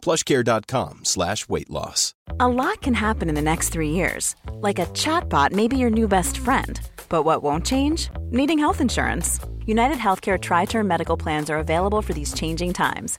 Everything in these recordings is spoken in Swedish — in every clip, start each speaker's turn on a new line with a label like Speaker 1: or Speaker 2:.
Speaker 1: Plushcare.com slash weight loss.
Speaker 2: A lot can happen in the next three years. Like a chatbot may be your new best friend. But what won't change? Needing health insurance. United Healthcare Tri Term Medical Plans are available for these changing times.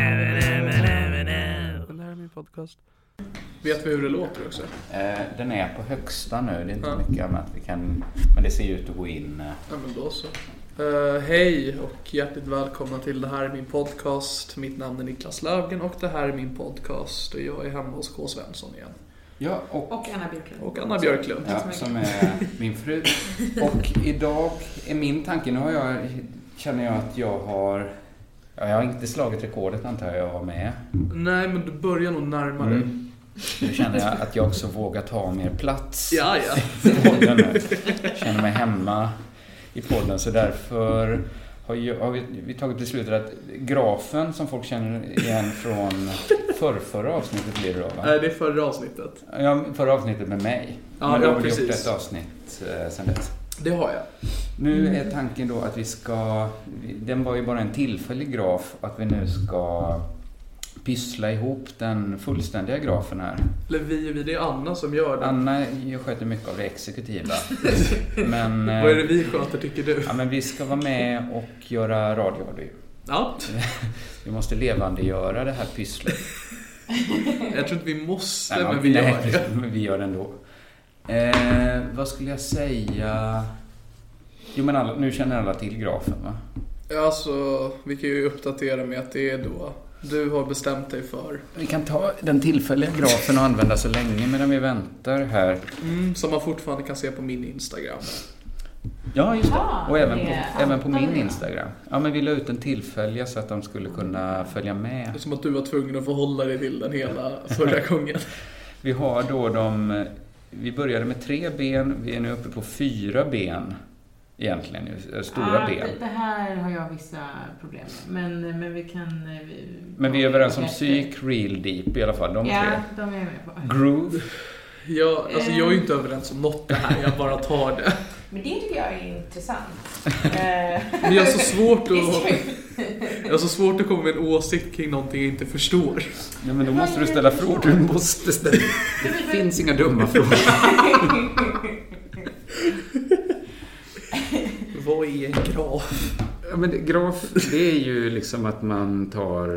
Speaker 3: Det här är min podcast.
Speaker 4: Vet vi hur det låter också?
Speaker 5: Eh, den är på högsta nu. Det är inte
Speaker 4: Ja.
Speaker 5: mycket annat vi kan... Men det ser ju ut att gå in... eh,
Speaker 4: Ja, men då så. Eh, hej och hjärtligt välkomna till Det här är min podcast. Mitt namn är Niklas Löfgren och det här är min podcast. Och jag är hemma hos K. Svensson igen.
Speaker 5: Ja, och...
Speaker 6: Och Anna Björklund.
Speaker 4: Och Anna Björklund.
Speaker 5: Ja, som är min fru. Och idag är min tanke... Nu har jag, känner jag att jag har... Ja, jag har inte slagit rekordet antar jag jag har med.
Speaker 4: Nej, men du börjar nog närmare.
Speaker 5: Mm. Nu känner jag att jag också vågar ta mer plats
Speaker 4: Ja, ja.
Speaker 5: i podden nu. Känner mig hemma i podden. Så därför har, ju- har vi, vi tagit beslutet att grafen som folk känner igen från förrförra avsnittet blir det då va?
Speaker 4: Nej, det är förra avsnittet.
Speaker 5: Ja, förra avsnittet med mig.
Speaker 4: Ja,
Speaker 5: Men du
Speaker 4: ja,
Speaker 5: har väl gjort
Speaker 4: precis.
Speaker 5: ett avsnitt eh, sen dess.
Speaker 4: Det har jag.
Speaker 5: Nu är tanken då att vi ska... Den var ju bara en tillfällig graf. Att vi nu ska pyssla ihop den fullständiga grafen här.
Speaker 4: Eller vi och vi, det är Anna som gör det.
Speaker 5: Anna jag sköter mycket av det exekutiva. men, eh,
Speaker 4: Vad är det vi sköter tycker du?
Speaker 5: Ja, men vi ska vara med och göra radio.
Speaker 4: Ja,
Speaker 5: Vi måste levandegöra det här pysslet.
Speaker 4: jag tror inte vi måste,
Speaker 5: Nej,
Speaker 4: men vi
Speaker 5: nej,
Speaker 4: gör det.
Speaker 5: men vi gör det ändå. Eh, vad skulle jag säga? Jo, men alla, nu känner alla till grafen, va?
Speaker 4: Ja, Alltså, vi kan ju uppdatera med att det är då du har bestämt dig för.
Speaker 5: Vi kan ta den tillfälliga grafen och använda så länge medan vi väntar här.
Speaker 4: Mm, som man fortfarande kan se på min Instagram.
Speaker 5: Ja, just det.
Speaker 6: Ah,
Speaker 5: Och även på,
Speaker 6: det-
Speaker 5: även på
Speaker 6: ja,
Speaker 5: min
Speaker 6: det-
Speaker 5: Instagram. Ja, men vi la ut den tillfälliga så att de skulle kunna följa med.
Speaker 4: Det är som att du var tvungen att förhålla dig till den hela förra gången.
Speaker 5: Vi har då de... Vi började med tre ben, vi är nu uppe på fyra ben. Egentligen, eh, stora
Speaker 6: Ah,
Speaker 5: ben.
Speaker 6: Det, det här har jag vissa problem med. Men, men vi kan... eh, Vi,
Speaker 5: Men vi är överens om
Speaker 6: Efter.
Speaker 5: psyk, real, deep i alla fall, de
Speaker 6: Ja,
Speaker 5: tre.
Speaker 6: de är jag med på.
Speaker 5: Groove.
Speaker 4: Jag, alltså, jag är ju inte överens om något det här, jag bara tar det.
Speaker 6: Men det tycker jag är intressant. Eh,
Speaker 4: Men jag har så svårt att, jag har så svårt att komma med en åsikt kring någonting jag inte förstår.
Speaker 5: Ja, men då måste du ställa frågor. Du måste ställa... Det finns inga dumma frågor.
Speaker 4: Vad är en graf?
Speaker 5: Ja, men graf, det är ju liksom att man tar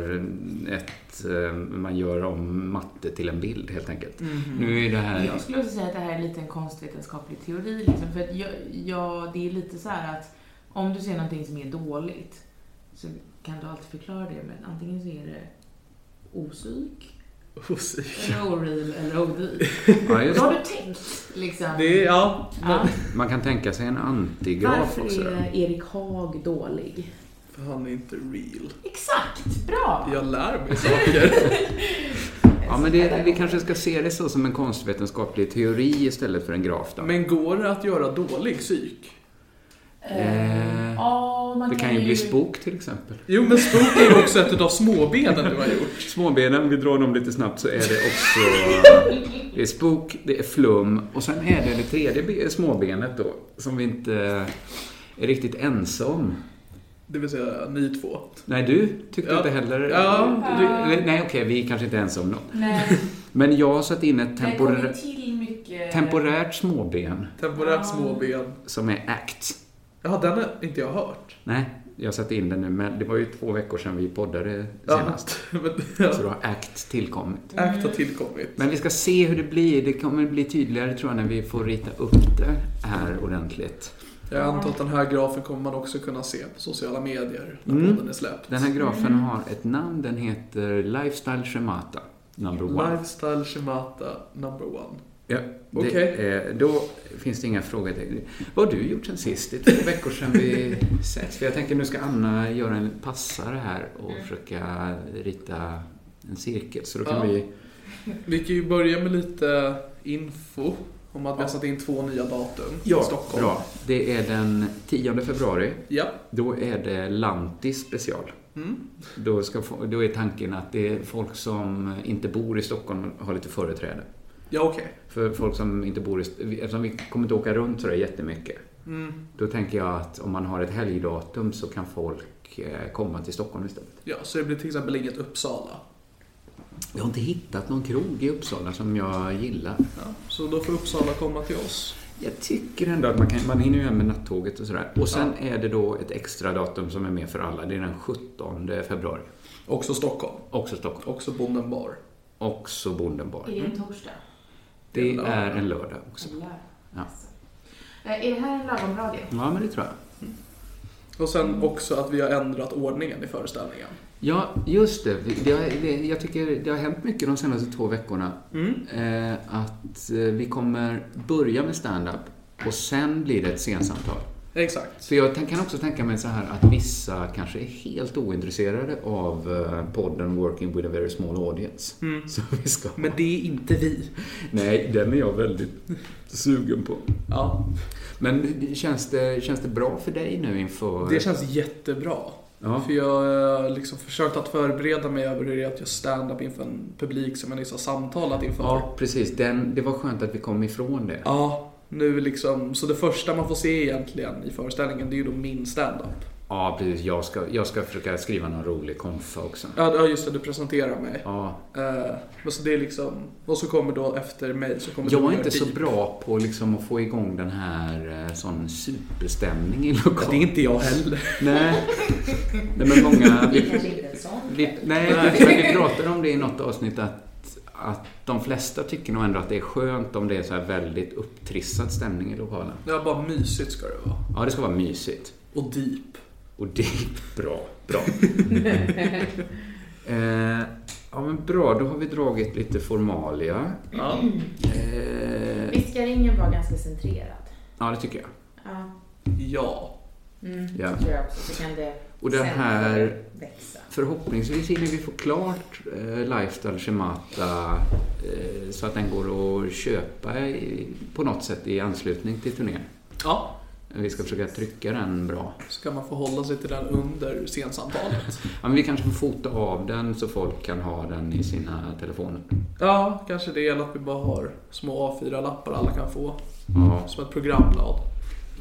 Speaker 5: ett... eh, Man gör om matte till en bild, helt enkelt. Nu är det här...
Speaker 6: jag skulle också säga att det här är lite en konstvetenskaplig teori. Liksom, för att jag, jag, det är lite så här att om du ser någonting som är dåligt så kan du alltid förklara det med antingen så är det opsyk,
Speaker 4: Åsikt.
Speaker 6: eller oreal eller odyr.
Speaker 5: Ja,
Speaker 6: Då
Speaker 5: just.
Speaker 6: har du tänkt liksom.
Speaker 4: Det är, ja.
Speaker 6: ja.
Speaker 5: Man kan tänka sig en antigraf också.
Speaker 6: Varför är Erik Haag dålig?
Speaker 4: För han är inte real.
Speaker 6: Exakt, bra!
Speaker 4: Jag lär mig saker.
Speaker 5: men det, vi kanske ska se det så som en konstvetenskaplig teori istället för en graf då.
Speaker 4: Men går det att göra dålig psyk?
Speaker 5: Eh,
Speaker 6: Ja, man
Speaker 5: det kan ju bli spok till exempel.
Speaker 4: Jo, men spook är ju också ett av småbenen du har gjort.
Speaker 5: Småbenen, vi drar dem lite snabbt, så är det också... Det är spok, det är flum och sen är det det tredje be- småbenet då, som vi inte är riktigt ense om.
Speaker 4: Det vill säga ni två.
Speaker 5: Nej, du tyckte
Speaker 4: Ja.
Speaker 5: inte heller...
Speaker 4: Ja.
Speaker 5: Du, eller, nej, okej, vi är kanske inte är ense om något.
Speaker 6: Nej,
Speaker 5: Men jag har satt in ett
Speaker 6: det kommer
Speaker 5: temporär,
Speaker 6: till mycket...
Speaker 5: temporärt småben
Speaker 4: Temporärt småben.
Speaker 5: som är ACT.
Speaker 4: Ja, den har inte jag hört.
Speaker 5: Nej, jag satte in den nu, men det var ju två veckor sedan vi poddade
Speaker 4: Ja,
Speaker 5: senast.
Speaker 4: men,
Speaker 5: Så
Speaker 4: ja.
Speaker 5: då har ACT tillkommit.
Speaker 4: Act har tillkommit.
Speaker 5: Men vi ska se hur det blir. Det kommer bli tydligare tror jag när vi får rita upp det här ordentligt.
Speaker 4: Jag antar att den här grafen kommer man också kunna se på sociala medier när
Speaker 5: Mm.
Speaker 4: podden är släppt.
Speaker 5: Den här grafen
Speaker 4: Mm.
Speaker 5: har ett namn. Den heter Lifestyle Schemata number one.
Speaker 4: Lifestyle Shimata number one.
Speaker 5: Ja, det
Speaker 4: Okej.
Speaker 5: är- då finns det inga frågetecken. Vad har du gjort sen sist? Det är två veckor sedan vi ses. För jag tänker nu ska Anna göra en passare här och försöka rita en cirkel. Så då kan
Speaker 4: Mm. Ja.
Speaker 5: vi...
Speaker 4: Vi kan ju börja med lite info om att vi har satt in två nya datum i Stockholm.
Speaker 5: Bra. Det är den 10 februari.
Speaker 4: Ja,
Speaker 5: Då är det Lantis special.
Speaker 4: Mm.
Speaker 5: Då, ska, få- då är tanken att det är folk som inte bor i Stockholm har lite företräde.
Speaker 4: ja okej.
Speaker 5: För folk som inte bor i... Eftersom vi kommer inte åka runt så där jättemycket.
Speaker 4: Mm.
Speaker 5: Då tänker jag att om man har ett helgdatum så kan folk eh, komma till Stockholm istället.
Speaker 4: Ja, så det blir till exempel inget Uppsala.
Speaker 5: Jag har inte hittat någon krog i Uppsala som jag gillar.
Speaker 4: Ja, så då får Uppsala komma till oss.
Speaker 5: Jag tycker ändå att man, kan, man hinner ju hem med nattåget och sådär. Och sen är det då ett extra datum som är med för alla. Det är den 17 februari.
Speaker 4: Också Stockholm.
Speaker 5: Också Stockholm.
Speaker 4: Också Bonden bar.
Speaker 5: Också Bonden bar.
Speaker 6: Är det en torsdag?
Speaker 5: Det är en lördag också.
Speaker 6: Eller?
Speaker 5: Ja.
Speaker 6: Eh, Är det här en lagom radio?
Speaker 5: Ja, men det tror jag.
Speaker 4: Och sen
Speaker 5: Mm.
Speaker 4: också att vi har ändrat ordningen i föreställningen.
Speaker 5: Ja, just det. Vi- det, har, det jag tycker det har hänt mycket de senaste två veckorna. Eh, att eh, vi kommer börja med stand-up och sen blir det ett scensamtal.
Speaker 4: Exakt.
Speaker 5: Så jag tän- kan också tänka mig så här att vissa kanske är helt ointresserade av eh, podden Working with a very small audience. Så vi ska...
Speaker 4: Mm. Men det är inte vi.
Speaker 5: Nej, den är jag väldigt sugen på.
Speaker 4: Ja,
Speaker 5: Men känns det, känns det bra för dig nu inför...
Speaker 4: det känns jättebra.
Speaker 5: Ja.
Speaker 4: För jag har liksom försökt att förbereda mig över hur det är att göra stand-up inför en publik som jag nyss har samtalat inför.
Speaker 5: Ja, precis. Den, det var skönt att vi kom ifrån det.
Speaker 4: Ja, nu liksom, så det första man får se egentligen i föreställningen det är ju då min stand-up.
Speaker 5: Ja, precis. Jag ska, jag ska försöka skriva någon rolig konfa också.
Speaker 4: Ja, ja, just det, du presenterar mig.
Speaker 5: Ja.
Speaker 4: Eh, men så det är liksom, och så kommer då efter mig så kommer
Speaker 5: Jag
Speaker 4: du
Speaker 5: är inte så
Speaker 4: Jörgen.
Speaker 5: bra på liksom att få igång den här eh, sån superstämning i
Speaker 4: Ja,
Speaker 5: lokalen.
Speaker 4: det är inte jag heller.
Speaker 5: Nej. Nej, men många...
Speaker 6: Det är
Speaker 5: Vi,
Speaker 6: kanske inte en sån.
Speaker 5: vi, nej, men vi pratade om det i något avsnitt att, att de flesta tycker nog ändå att det är skönt om det är så här väldigt upptrissad stämning i lokalen.
Speaker 4: Det är bara mysigt ska det vara.
Speaker 5: Ja, det ska vara mysigt.
Speaker 4: Och deep.
Speaker 5: Och det är bra. Bra. eh, ja, men bra. Då har vi dragit lite formalia.
Speaker 4: Ja.
Speaker 5: Eh,
Speaker 6: Visst ska ringen vara ganska centrerad?
Speaker 5: ja, det tycker jag.
Speaker 6: Ja.
Speaker 4: ja.
Speaker 6: Mm,
Speaker 5: Ja.
Speaker 6: det tror jag också. Så kan det
Speaker 5: Och det
Speaker 6: sen
Speaker 5: här-
Speaker 6: växa.
Speaker 5: Förhoppningsvis hinner vi få klart eh, Lifestyle Shemata eh, så att den går att köpa i, på något sätt i anslutning till turnén.
Speaker 4: Ja.
Speaker 5: Vi ska försöka trycka den bra.
Speaker 4: Så kan man förhålla sig till den under scensamtalet.
Speaker 5: Ja, men vi kanske får fota av den så folk kan ha den i sina telefoner.
Speaker 4: Ja, kanske det eller att vi bara har små A4-lappar alla kan få.
Speaker 5: Ja.
Speaker 4: Som ett programblad.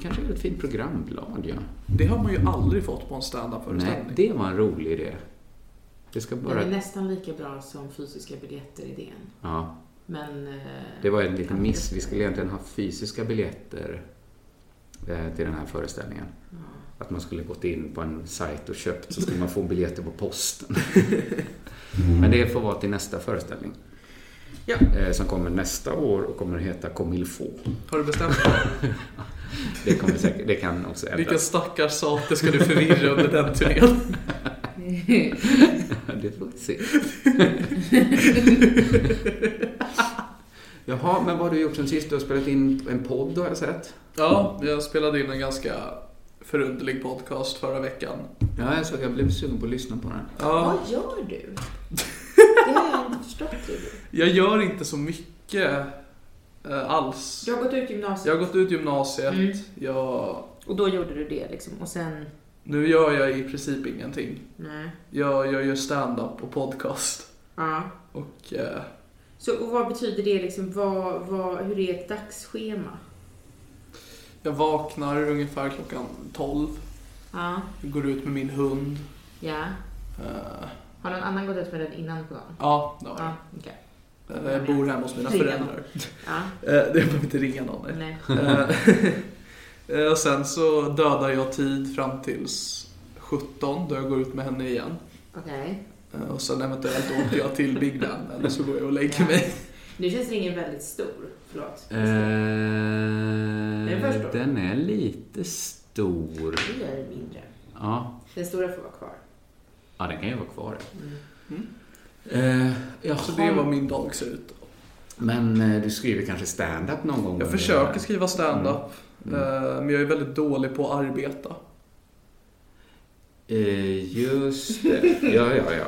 Speaker 5: Kanske ett fint programblad, ja.
Speaker 4: Det har man ju aldrig fått på en
Speaker 5: Nej,
Speaker 4: standup-föreställning.
Speaker 5: det var en rolig idé. Det ska
Speaker 6: Den är
Speaker 5: bara...
Speaker 6: nästan lika bra som fysiska biljetter-idén.
Speaker 5: Ja,
Speaker 6: Men... eh,
Speaker 5: det var en liten miss. Vi skulle egentligen ha fysiska biljetter eh, till den här föreställningen. Att man skulle gått in på en sajt och köpt så skulle man få biljetter på posten. Men det får vara till nästa föreställning.
Speaker 6: Ja.
Speaker 5: Eh, Som kommer nästa år och kommer att heta Comilfå.
Speaker 4: Har du bestämt dig?
Speaker 5: Det, kommer säkert, det kan också
Speaker 4: Vilken
Speaker 5: ändras.
Speaker 4: stackars sate ska du förvirra under den turnén?
Speaker 5: Det får vi se. Jaha, men vad har du gjort sen sist? Du har spelat in en podd har jag sett.
Speaker 4: Ja, jag spelade in en ganska förunderlig podcast förra veckan.
Speaker 5: Ja, jag, såg, jag blev sugen på att lyssna på den.
Speaker 4: Ja,
Speaker 6: Vad gör du? Det har jag inte förstått. Julie.
Speaker 4: Jag gör inte så mycket eh, alls.
Speaker 6: Du har gått ut gymnasiet.
Speaker 4: Jag har gått ut gymnasiet.
Speaker 6: Mm.
Speaker 4: Jag,
Speaker 6: Och då gjorde du det liksom. Och sen,
Speaker 4: nu gör jag i princip ingenting.
Speaker 6: nej.
Speaker 4: Jag, jag gör stand-up och podcast.
Speaker 6: Ja.
Speaker 4: Och eh,
Speaker 6: Så och vad betyder det liksom? Vad, vad, hur är ett dagsschema?
Speaker 4: jag vaknar ungefär klockan 12.
Speaker 6: Ja.
Speaker 4: Jag går ut med min hund.
Speaker 6: Ja.
Speaker 4: Eh,
Speaker 6: Har någon annan gått ut med den innan på dagen?
Speaker 4: ja, det har jag.
Speaker 6: Ja, okej.
Speaker 4: Eh, Jag bor hemma hos mina
Speaker 6: Ringa
Speaker 4: föräldrar.
Speaker 6: Ja,
Speaker 4: Eh, Jag behöver inte ringa någon. nej.
Speaker 6: nej.
Speaker 4: Eh, eh, och sen så dödar jag tid fram tills 17 då jag går ut med henne igen.
Speaker 6: Okej.
Speaker 4: Eh, Och sen eventuellt åker jag till Big Ben eller så går jag och lägger mig.
Speaker 6: Nu känns ringen väldigt stor. Förlåt.
Speaker 5: Eh,
Speaker 6: Den är först då.
Speaker 5: den är lite stor.
Speaker 6: Du är mindre.
Speaker 5: Ja,
Speaker 6: Den stora får vara kvar.
Speaker 5: ja den kan ju vara kvar.
Speaker 6: Mm.
Speaker 5: Eh, jaha,
Speaker 4: Så det är vad min dag ser ut.
Speaker 5: Men eh, du skriver kanske stand-up någon gång?
Speaker 4: Jag
Speaker 5: under det
Speaker 4: försöker
Speaker 5: här?
Speaker 4: skriva stand-up
Speaker 5: Mm.
Speaker 4: eh, men jag är väldigt dålig på att arbeta.
Speaker 5: Eh, just det. Ja, ja, ja.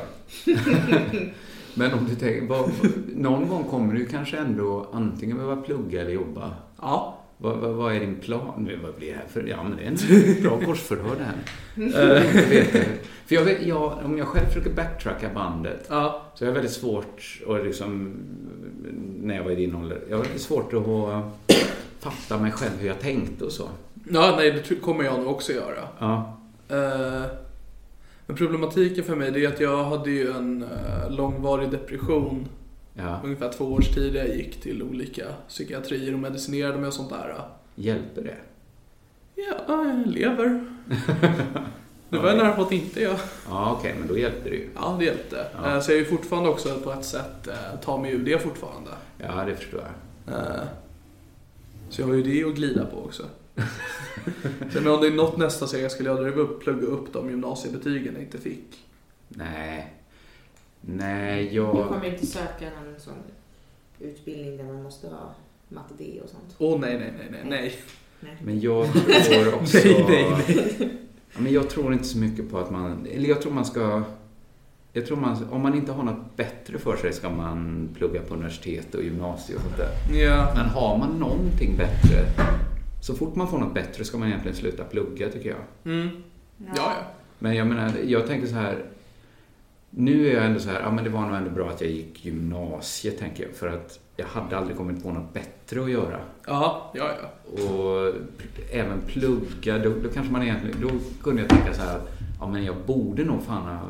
Speaker 5: Men om du tänker, vad, någon gång kommer du kanske ändå antingen behöva plugga eller jobba.
Speaker 4: Ja.
Speaker 5: Vad, vad, vad är din plan? Nu, Vad blir det här för... Ja, men det är en bra korsförhör det här. Eh, jag vet det. för jag vet, jag, om jag själv försöker backtracka bandet
Speaker 4: ja.
Speaker 5: så är jag väldigt svårt, och liksom, när jag var i din ålder, jag har väldigt svårt att ha- fatta mig själv hur jag tänkte och så.
Speaker 4: ja nej, det tr- kommer jag nog också göra.
Speaker 5: Ja.
Speaker 4: Eh, Men problematiken för mig det är att jag hade ju en eh, långvarig depression
Speaker 5: ja.
Speaker 4: ungefär två års tid där jag gick till olika psykiatrier och medicinerade mig och sånt där.
Speaker 5: Hjälper det?
Speaker 4: Ja, jag lever. Det var jag nära på att inte jag.
Speaker 5: Ja, okej, men då hjälper det ju.
Speaker 4: Ja, det hjälpte.
Speaker 5: Ja.
Speaker 4: Eh, Så jag är ju fortfarande också på ett sätt, eh, tar mig ur det fortfarande.
Speaker 5: Ja, det förstår jag.
Speaker 4: Eh, Så jag har ju det att glida på också. Så, men om det är något nästa steg jag skulle göra, det är att plugga upp de gymnasiebetygen jag inte fick.
Speaker 5: Nej. Nej,
Speaker 6: Du
Speaker 5: Eh, jag...
Speaker 6: kommer inte söka någon sån utbildning där man måste ha matte D och sånt?
Speaker 4: Åh oh, nej, nej, nej, nej, nej.
Speaker 6: Nej.
Speaker 5: Men jag tror också...
Speaker 4: Nej, nej,
Speaker 5: Ja, men jag tror inte så mycket på att man... Eller jag tror man ska... Jag tror man, om man inte har något bättre för sig ska man plugga på universitet och gymnasium och sånt där.
Speaker 4: Ja.
Speaker 5: Men har man någonting bättre, så fort man får något bättre ska man egentligen sluta plugga tycker jag.
Speaker 4: Mm. Ja, ja.
Speaker 5: Men jag menar, jag tänker så här. Nu är jag ändå så här, ja men det var nog ändå bra att jag gick gymnasiet tänker jag. För att jag hade aldrig kommit på något bättre att göra.
Speaker 4: Ja, ja, ja.
Speaker 5: Och pl- även plugga, då, då kanske man egentligen, då kunde jag tänka så här, ja men jag borde nog fan ha,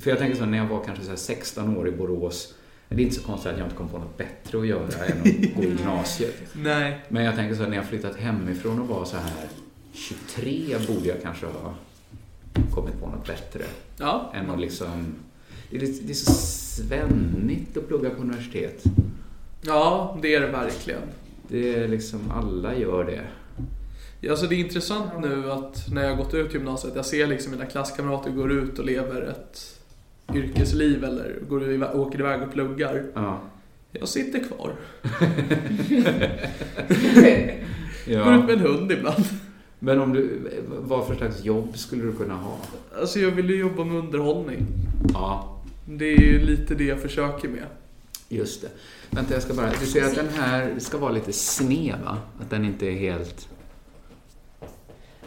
Speaker 5: för jag tänker så här, när jag var kanske så här 16 år i Borås, det är inte så konstigt att jag inte kom på något bättre att göra än att gå i gymnasiet.
Speaker 4: Nej.
Speaker 5: Men jag tänker så här, när jag flyttat hemifrån och var så här 23 borde jag kanske ha kommit på något bättre.
Speaker 4: Ja.
Speaker 5: Än att liksom, det är, lite, det är så svennigt att plugga på universitet.
Speaker 4: Ja, det är det verkligen.
Speaker 5: Det är liksom, alla gör det.
Speaker 4: Ja, Alltså det är intressant nu att när jag har gått ut gymnasiet, jag ser liksom mina klasskamrater går ut och lever ett yrkesliv eller går iväg, åker iväg och pluggar.
Speaker 5: Ja.
Speaker 4: Jag sitter kvar. Går ut
Speaker 5: ja.
Speaker 4: med en hund ibland.
Speaker 5: Men om du, vad för slags jobb skulle du kunna ha?
Speaker 4: Alltså jag vill ju jobba med underhållning.
Speaker 5: Ja,
Speaker 4: Det är ju lite det jag försöker med.
Speaker 5: just det. Vänta, jag ska bara, du ser att den här ska vara lite sned va? Att den inte är helt,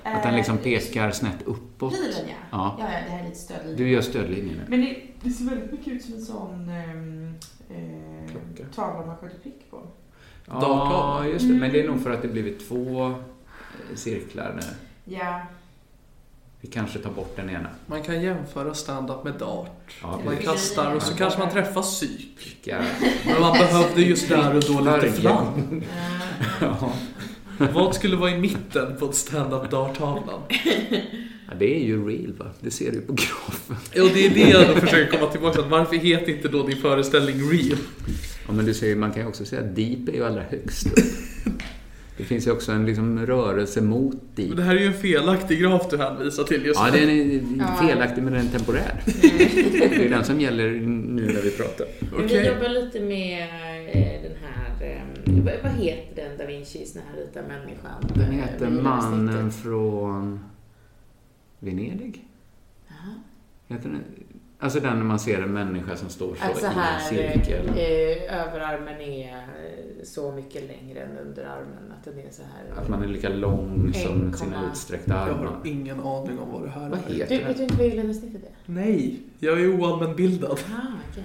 Speaker 5: att
Speaker 6: Eh,
Speaker 5: den liksom pekar snett uppåt.
Speaker 6: Pilen ja.
Speaker 5: Ja.
Speaker 6: Eh, ja. ja, det här är lite stödlinje.
Speaker 5: Du gör stödlinjen nu.
Speaker 6: Men det, det ser väldigt mycket ut som en sån ehm, eh,
Speaker 5: Klocka.
Speaker 6: tavla man skjuter prick på.
Speaker 5: Ja,
Speaker 4: Daghal.
Speaker 5: just det. Men det är nog för att det blivit två eh, cirklar nu.
Speaker 6: Ja.
Speaker 5: Vi kanske tar bort den ena.
Speaker 4: Man kan jämföra stand-up med dart.
Speaker 5: Ja,
Speaker 4: Man
Speaker 5: precis.
Speaker 4: kastar och så kanske man träffar psyk.
Speaker 5: Ja.
Speaker 4: Men man behövde just där och då lite fram.
Speaker 6: Eh,
Speaker 5: Ja.
Speaker 4: Vad skulle vara i mitten på ett stand-up darttavlan?
Speaker 5: Ja, det är ju real va? Det ser du på grafen.
Speaker 4: Ja, det är det jag då försöker komma tillbaka till. Varför heter inte då din föreställning Real?
Speaker 5: Ja, men du ser ju, man kan ju också säga att deep är ju allra högst upp. Det finns ju också en liksom rörelse mot
Speaker 4: Men
Speaker 5: deep.
Speaker 4: det här är ju en felaktig graf du hänvisar till just
Speaker 5: Ja, Mm.
Speaker 4: nu.
Speaker 5: den är felaktig men den är temporär. Det är ju den som gäller nu när vi pratar.
Speaker 6: Men Vi
Speaker 4: Okej.
Speaker 6: jobbar lite med eh, den här, eh, vad- vad heter den da Vincis, den här vita människan?
Speaker 5: Den
Speaker 6: eh,
Speaker 5: heter
Speaker 6: vid
Speaker 5: Mannen
Speaker 6: avsnittet?
Speaker 5: från Venedig.
Speaker 6: Jaha.
Speaker 5: Heter den? Alltså den när man ser en människa som står så,
Speaker 6: Att så
Speaker 5: i en
Speaker 6: här,
Speaker 5: cirkel.
Speaker 6: eh, överarmen är eh, så mycket längre än underarmen. Att den är så här.
Speaker 5: Att man är lika lång som sina
Speaker 6: 1,1.
Speaker 5: utsträckta
Speaker 4: Jag
Speaker 5: armar.
Speaker 4: har ingen aning om vad det här
Speaker 5: Vad
Speaker 4: är.
Speaker 5: heter
Speaker 6: Du,
Speaker 5: den?
Speaker 6: vet du inte vad gyllene är?
Speaker 4: Nej, jag är oallmänbildad.
Speaker 6: Ah, okej.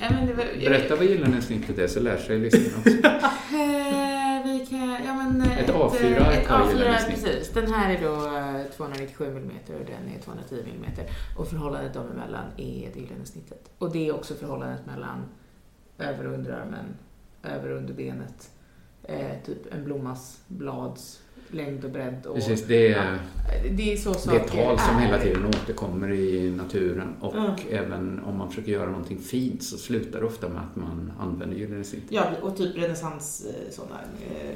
Speaker 6: Nej, men det var,
Speaker 5: Berätta vad gyllene snittet är så lär sig lyssnarna också.
Speaker 6: Eh, vi kan, ja, men, eh,
Speaker 5: Ett A4
Speaker 6: eh,
Speaker 5: är
Speaker 6: ett
Speaker 5: Karl
Speaker 6: A4
Speaker 5: Gyllene snitt.
Speaker 6: precis. Den här är då eh, 297 mm och den är 210 mm. Och förhållandet dem emellan är det gyllene snittet. Och det är också förhållandet mellan över och underarmen, över och underbenet. Eh, typ en blommas blads längd och bredd. Och,
Speaker 5: Precis, det
Speaker 6: Ja,
Speaker 5: är,
Speaker 6: det är så
Speaker 5: det är
Speaker 6: saker
Speaker 5: tal som
Speaker 6: är. Mm.
Speaker 5: hela tiden återkommer i naturen och
Speaker 6: Ja.
Speaker 5: även om man försöker göra någonting fint så slutar det ofta med att man använder gyllene snitt.
Speaker 6: Ja, och typ renässans eh, sådana eh,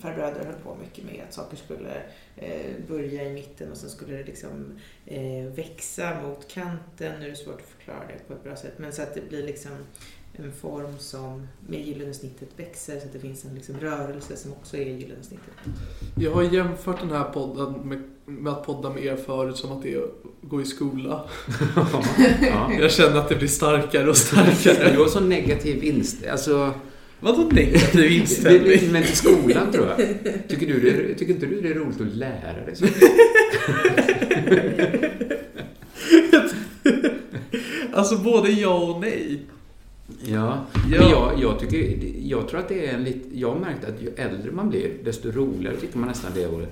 Speaker 6: farbröder höll på mycket med att saker skulle eh, börja i mitten och sen skulle det liksom eh, växa mot kanten. Nu är det svårt att förklara det på ett bra sätt, men så att det blir liksom en form som med gyllene snittet växer så att det finns en liksom rörelse som också är gyllene snittet.
Speaker 4: Jag har jämfört den här podden med, med att podda med er förut som att det är att gå i skola.
Speaker 5: Ja.
Speaker 4: Jag känner att det blir starkare och starkare.
Speaker 5: Du har så negativ inställning. Alltså,
Speaker 4: Vadå negativ
Speaker 5: det är
Speaker 4: inställning?
Speaker 5: men till skolan tror jag. Tycker, du det, tycker inte du det är roligt att lära dig? Så?
Speaker 4: Alltså både ja och nej.
Speaker 5: Ja,
Speaker 4: Ja.
Speaker 5: Men jag, jag, tycker, jag tror att det är en lit, Jag har märkt att ju äldre man blir, desto roligare tycker man nästan det är att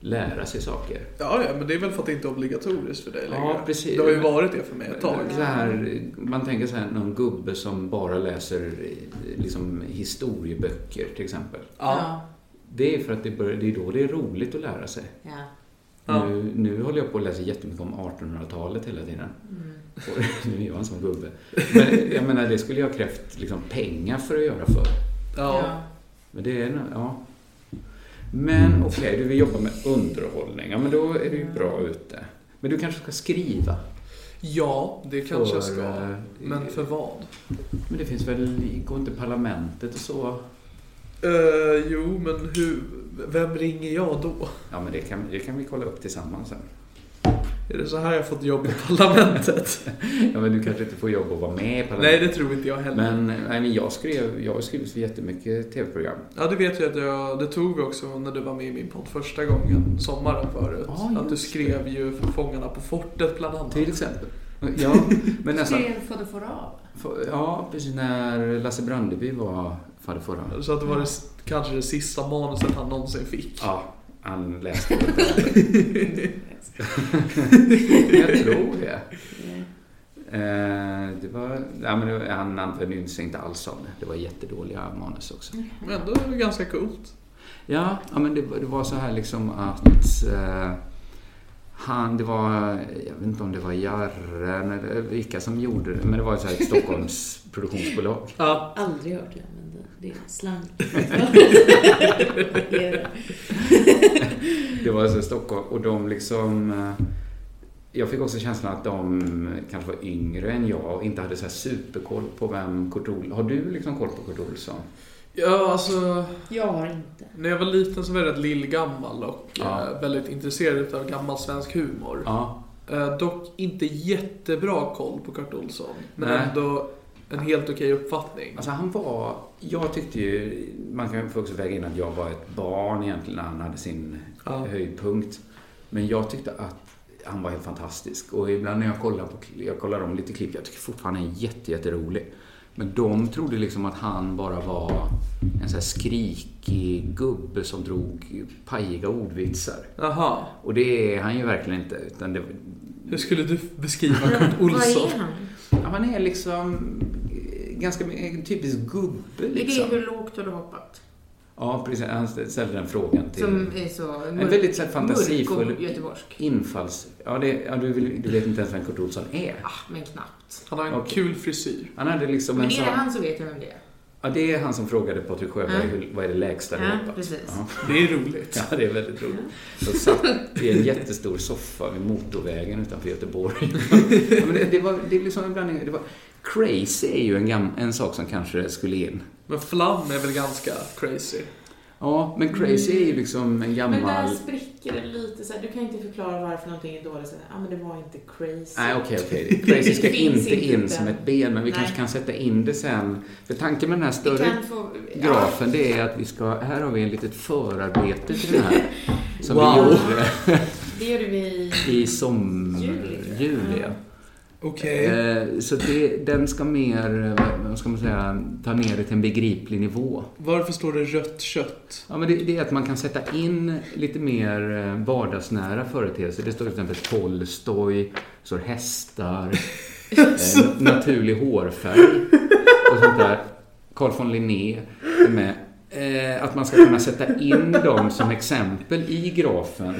Speaker 5: lära sig saker.
Speaker 4: Ja, ja, men det är väl för att det inte är obligatoriskt för dig
Speaker 5: Ja,
Speaker 4: längre.
Speaker 5: precis.
Speaker 4: Det har ju varit det för mig ett tag.
Speaker 5: Så här, man tänker så här, någon gubbe som bara läser eh, liksom, historieböcker till exempel.
Speaker 4: Ja.
Speaker 5: Det är för att det, börjar, det är då det är roligt att lära sig.
Speaker 6: ja.
Speaker 4: Ja.
Speaker 5: Nu, nu håller jag på att läsa jättemycket om 1800-talet hela tiden.
Speaker 4: Mm.
Speaker 5: Och, nu är jag en sån gubbe. Men jag menar, det skulle jag ha krävt liksom, pengar för att göra för.
Speaker 4: ja.
Speaker 5: Men det är nog- ja. Men okej, du vill jobba med underhållning. Ja, men då är du ju bra
Speaker 4: Mm.
Speaker 5: ute. Men du kanske ska skriva?
Speaker 4: Ja, det kanske jag
Speaker 5: För,
Speaker 4: ska.
Speaker 5: eh,
Speaker 4: Men för vad?
Speaker 5: Men det finns väl, går inte parlamentet och så?
Speaker 4: Eh, jo, men hur, vem ringer jag då?
Speaker 5: Ja, men det kan, det kan vi kolla upp tillsammans sen.
Speaker 4: Är det så här jag fått jobb i parlamentet?
Speaker 5: Ja, men du kanske inte får jobb och vara med i
Speaker 4: Nej,
Speaker 5: parlamentet.
Speaker 4: det tror inte jag heller.
Speaker 5: Men, nej, men jag, skrev, jag har skrivit för jättemycket tv-program.
Speaker 4: Ja, det vet jag att jag, det tog vi också när du var med i min podd första gången, sommaren förut.
Speaker 5: Ja, just
Speaker 4: att du skrev ju för Fångarna på fortet bland annat.
Speaker 5: Till exempel. Ja, men nästan. Ja, precis. När Lasse Brandeby var fadderfurra.
Speaker 4: Så att det var det, s- kanske det sista manuset han någonsin fick.
Speaker 5: Ja, han läste det. jag tror det. Eh, det var, ja, men det var, han använde ju sig inte alls av det. Det var jättedåliga manus också.
Speaker 4: Men ändå är det ganska coolt.
Speaker 5: Ja, ja men det, var- det var så här liksom att eh, han, det var, jag vet inte om det var Jarren eller vilka som gjorde det, men det var så här ett Stockholms produktionsbolag.
Speaker 4: Ja,
Speaker 7: Aldrig hört det, men det, det är slang.
Speaker 5: Det var alltså Stockholm och de liksom... eh, Jag fick också känslan att de kanske var yngre än jag och inte hade så här superkoll på vem Kurt Olsson... Har du liksom koll på Kurt Olsson?
Speaker 4: ja alltså
Speaker 7: Jag har inte.
Speaker 4: när jag var liten så var jag rätt lillgammal och
Speaker 5: Ja.
Speaker 4: eh, väldigt intresserad av gammal svensk humor.
Speaker 5: Ja.
Speaker 4: Eh, dock inte jättebra koll på Kurt Olsson, men
Speaker 5: Nej.
Speaker 4: ändå en helt okej uppfattning.
Speaker 5: Alltså han var... Jag tyckte ju... Man kan få också väga in att jag var ett barn egentligen när han hade sin
Speaker 4: Ja.
Speaker 5: höjdpunkt. Men jag tyckte att han var helt fantastisk. Och ibland när jag kollar, på, jag kollar om lite klipp, jag tycker fortfarande han är jätte, jätterolig. Men de trodde liksom att han bara var en sån här skrikig gubbe som drog pajiga ordvitsar.
Speaker 4: Jaha,
Speaker 5: Och det är han ju verkligen inte. Utan det,
Speaker 4: hur skulle du beskriva Kurt Olsson?
Speaker 6: Vad är han?
Speaker 5: ja, han är liksom ganska en typisk gubbe
Speaker 6: Det är
Speaker 5: liksom.
Speaker 6: hur lågt har du hoppat?
Speaker 5: Ja, precis. Han ställde den frågan till...
Speaker 6: Som är så mörk,
Speaker 5: väldigt så här fantasifull-
Speaker 6: mörk och göteborgsk.
Speaker 5: Infalls... Ja, det, ja du, vill, du vet inte ens vem Kurt Olsson är.
Speaker 6: Ah, men knappt.
Speaker 4: Han har en
Speaker 5: Okej.
Speaker 4: kul frisyr.
Speaker 5: Han hade liksom
Speaker 6: Men
Speaker 5: en
Speaker 6: är
Speaker 5: sån...
Speaker 6: det han så vet jag vem det är.
Speaker 5: Ja, det är han som frågade Patrik Sjöberg
Speaker 6: Ja.
Speaker 5: hur- vad är det lägsta du
Speaker 6: Ja,
Speaker 5: hoppat?
Speaker 6: precis.
Speaker 5: Ja.
Speaker 4: Det är roligt.
Speaker 5: ja, det är väldigt roligt. Jag satt i en jättestor soffa vid motorvägen utanför Göteborg. ja, men det, det, var, det är liksom en blandning. Det var, crazy är ju en, gam, en sak som kanske skulle in.
Speaker 4: Men Flam är väl ganska crazy?
Speaker 5: Ja, men crazy är ju liksom en
Speaker 6: Mm. Men
Speaker 5: gammal...
Speaker 6: där spricker det lite så här. Du kan inte förklara varför någonting är dåligt. Så här, ah, men det var inte crazy.
Speaker 5: Nej, okej, okej. Crazy ska
Speaker 6: Det finns
Speaker 5: inte
Speaker 6: inte
Speaker 5: in
Speaker 6: den.
Speaker 5: som ett ben, men vi
Speaker 6: Nej.
Speaker 5: kanske kan sätta in det sen. För tanken med den här
Speaker 6: Vi
Speaker 5: större
Speaker 6: kan få...
Speaker 5: grafen, det är att vi ska... Här har vi en litet förarbete till den här. Som
Speaker 6: Wow.
Speaker 5: vi gjorde
Speaker 6: Det gjorde vi...
Speaker 5: i sommar...
Speaker 6: Juli.
Speaker 5: Juli, ja.
Speaker 4: Okej.
Speaker 5: Eh, Så det, den ska mer, eh, vad ska man säga, ta ner det till en begriplig nivå.
Speaker 4: Varför står det rött kött?
Speaker 5: Ja, men det, det är att man kan sätta in lite mer eh, vardagsnära företeelser. Det står till exempel Tolstoj, står hästar, eh, na- naturlig hårfärg och sånt där. Carl von Linné är med. Eh, att man ska kunna sätta in dem som exempel i grafen.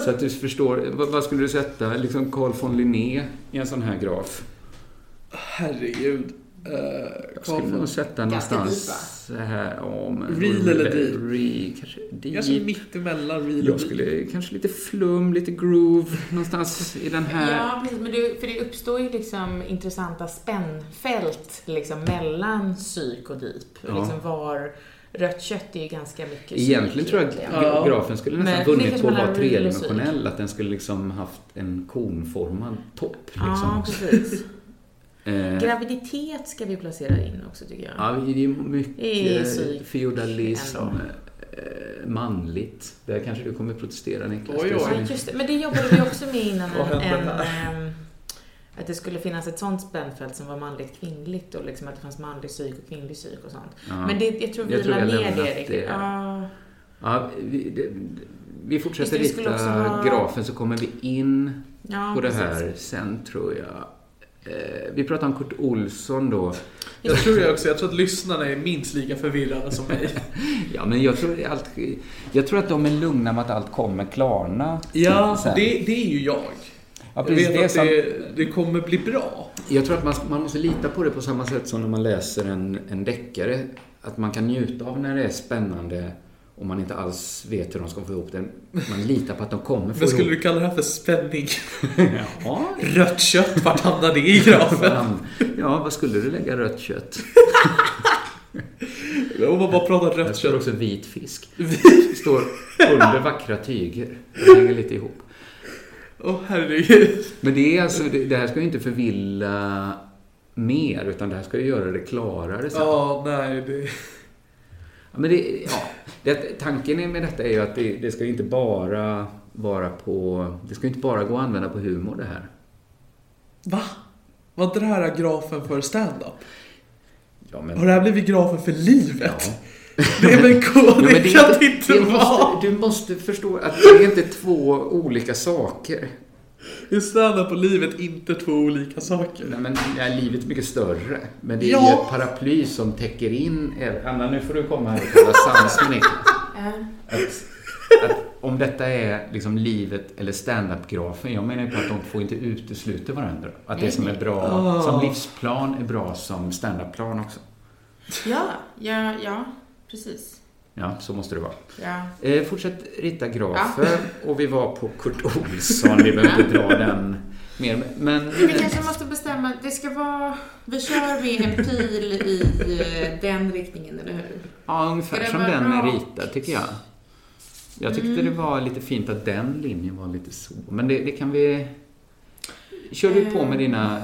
Speaker 5: Så att du förstår, vad, vad skulle du sätta, liksom Carl von Linné i en sån här graf?
Speaker 4: Herregud. Uh,
Speaker 5: Jag skulle nog sätta
Speaker 6: Ganska
Speaker 5: någonstans här om...
Speaker 4: Real eller deep?
Speaker 5: Re, kanske deep.
Speaker 4: Kanske mittemellan real
Speaker 5: Jag skulle kanske lite flum, lite groove, någonstans i den här.
Speaker 6: Ja, precis. Men det, för det uppstår ju liksom intressanta spännfält liksom, mellan psyk och deep.
Speaker 5: Ja.
Speaker 6: Liksom var... Rött kött är ju ganska mycket psyk
Speaker 5: Egentligen tror jag
Speaker 6: egentligen.
Speaker 5: gra- grafen skulle nästan
Speaker 6: Men det
Speaker 5: vunnit
Speaker 6: kanske
Speaker 5: på att
Speaker 6: man
Speaker 5: vara
Speaker 6: har real
Speaker 5: tredimensionell, att den skulle liksom haft en konformad topp
Speaker 6: Ja,
Speaker 5: liksom.
Speaker 6: precis.
Speaker 5: Eh,
Speaker 6: Graviditet ska vi placera in också tycker jag.
Speaker 5: Ja, det är ju
Speaker 6: Det är
Speaker 5: mycket eh,
Speaker 6: psyk
Speaker 5: feodalism,
Speaker 6: ändå.
Speaker 5: eh, manligt. Där kanske du kommer protestera Niklas.
Speaker 4: Oj,
Speaker 5: Det är så
Speaker 4: oj.
Speaker 6: Ja, just det. Men det jobbade vi också med innan.
Speaker 4: Vad
Speaker 6: en,
Speaker 4: hände
Speaker 6: en,
Speaker 4: här?
Speaker 6: ehm, att det skulle finnas ett sånt spännfält som var manligt kvinnligt och liksom att det fanns manlig psyk och kvinnlig psyk och sånt.
Speaker 5: Ja.
Speaker 6: Men det, jag tror vi
Speaker 5: Jag tror
Speaker 6: la
Speaker 5: jag
Speaker 6: ner
Speaker 5: lämnat
Speaker 6: det riktigt.
Speaker 5: det.
Speaker 6: Ja.
Speaker 5: Ja, vi, det, vi fortsätter
Speaker 6: Visst, vi skulle
Speaker 5: rita
Speaker 6: också ha-
Speaker 5: grafen så kommer vi in
Speaker 6: Ja,
Speaker 5: på det
Speaker 6: precis.
Speaker 5: här sen tror jag. Eh, vi pratar om Kurt Olsson då.
Speaker 4: Jag tror jag också. Jag tror att lyssnarna är minst lika förvirrade som mig.
Speaker 5: Ja, men jag tror, allt, jag tror att de är lugna med att allt kommer klarna.
Speaker 4: ja,
Speaker 5: sen.
Speaker 4: det, det är ju jag.
Speaker 5: ja,
Speaker 4: jag
Speaker 5: precis,
Speaker 4: vet
Speaker 5: det är
Speaker 4: att
Speaker 5: sant.
Speaker 4: det, det kommer bli bra.
Speaker 5: Jag tror att man, man måste lita på det på samma sätt som när man läser en, en deckare. Att man kan njuta av när det är spännande och man inte alls vet hur de ska få ihop det. Man litar på att de kommer få
Speaker 4: Vad skulle
Speaker 5: ihop
Speaker 4: du kalla det här för spänning?
Speaker 5: det. Ja,
Speaker 4: Rött kött, vart hamnar det i grafen?
Speaker 5: fan. ja, vad skulle du lägga rött kött?
Speaker 4: Om man bara pratar
Speaker 5: Jag
Speaker 4: rött
Speaker 5: tror
Speaker 4: kött.
Speaker 5: också vit fisk. Står under vackra tyger. Det hänger lite ihop.
Speaker 4: Åh herregud.
Speaker 5: Men det är alltså, det, det här ska ju inte förvilla mer, utan det här ska ju göra det klarare sen. Ja.
Speaker 4: Ja, nej. Det...
Speaker 5: Men det, ja, det, tanken är med detta är ju att det, det ska ju inte bara vara på... Det ska ju inte bara gå att använda på humor det här.
Speaker 4: Va? Var inte det här grafen för stand-up?
Speaker 5: Ja, men...
Speaker 4: Har det här blivit grafen för livet?
Speaker 5: Ja.
Speaker 4: Nej men
Speaker 5: Jo,
Speaker 4: K,
Speaker 5: men
Speaker 4: det
Speaker 5: är
Speaker 4: kan det inte vara!
Speaker 5: måste, Du måste förstå att det är inte två olika saker.
Speaker 4: Är stand-up och livet inte två olika saker?
Speaker 5: Nej, men är livet mycket större. Men det är
Speaker 4: Ja.
Speaker 5: ju ett paraply som täcker in... även- Anna, nu får du komma här och kalla sams med Niklas.
Speaker 6: Ja.
Speaker 5: att, att om detta är liksom livet eller stand-up-grafen, jag menar ju på att de två inte utesluter varandra. Att det som är bra som livsplan är bra som stand-up-plan också.
Speaker 6: Ja, ja, ja, precis.
Speaker 5: Ja, så måste det vara.
Speaker 6: Ja.
Speaker 5: Eh, fortsätt rita grafer och vi var på Kurt Olsson, vi behöver inte dra den mer. Men
Speaker 6: Vi kanske måste bestämma, det ska vara, vi kör med en pil i eh, den riktningen, eller hur?
Speaker 5: ja, ungefär
Speaker 6: Ska det
Speaker 5: som
Speaker 6: vara
Speaker 5: den är
Speaker 6: rakt? Mm.
Speaker 5: ritad tycker jag. Jag tyckte det var lite fint att den linjen var lite så, men det, det kan vi... Kör du på
Speaker 6: Eh.
Speaker 5: med dina...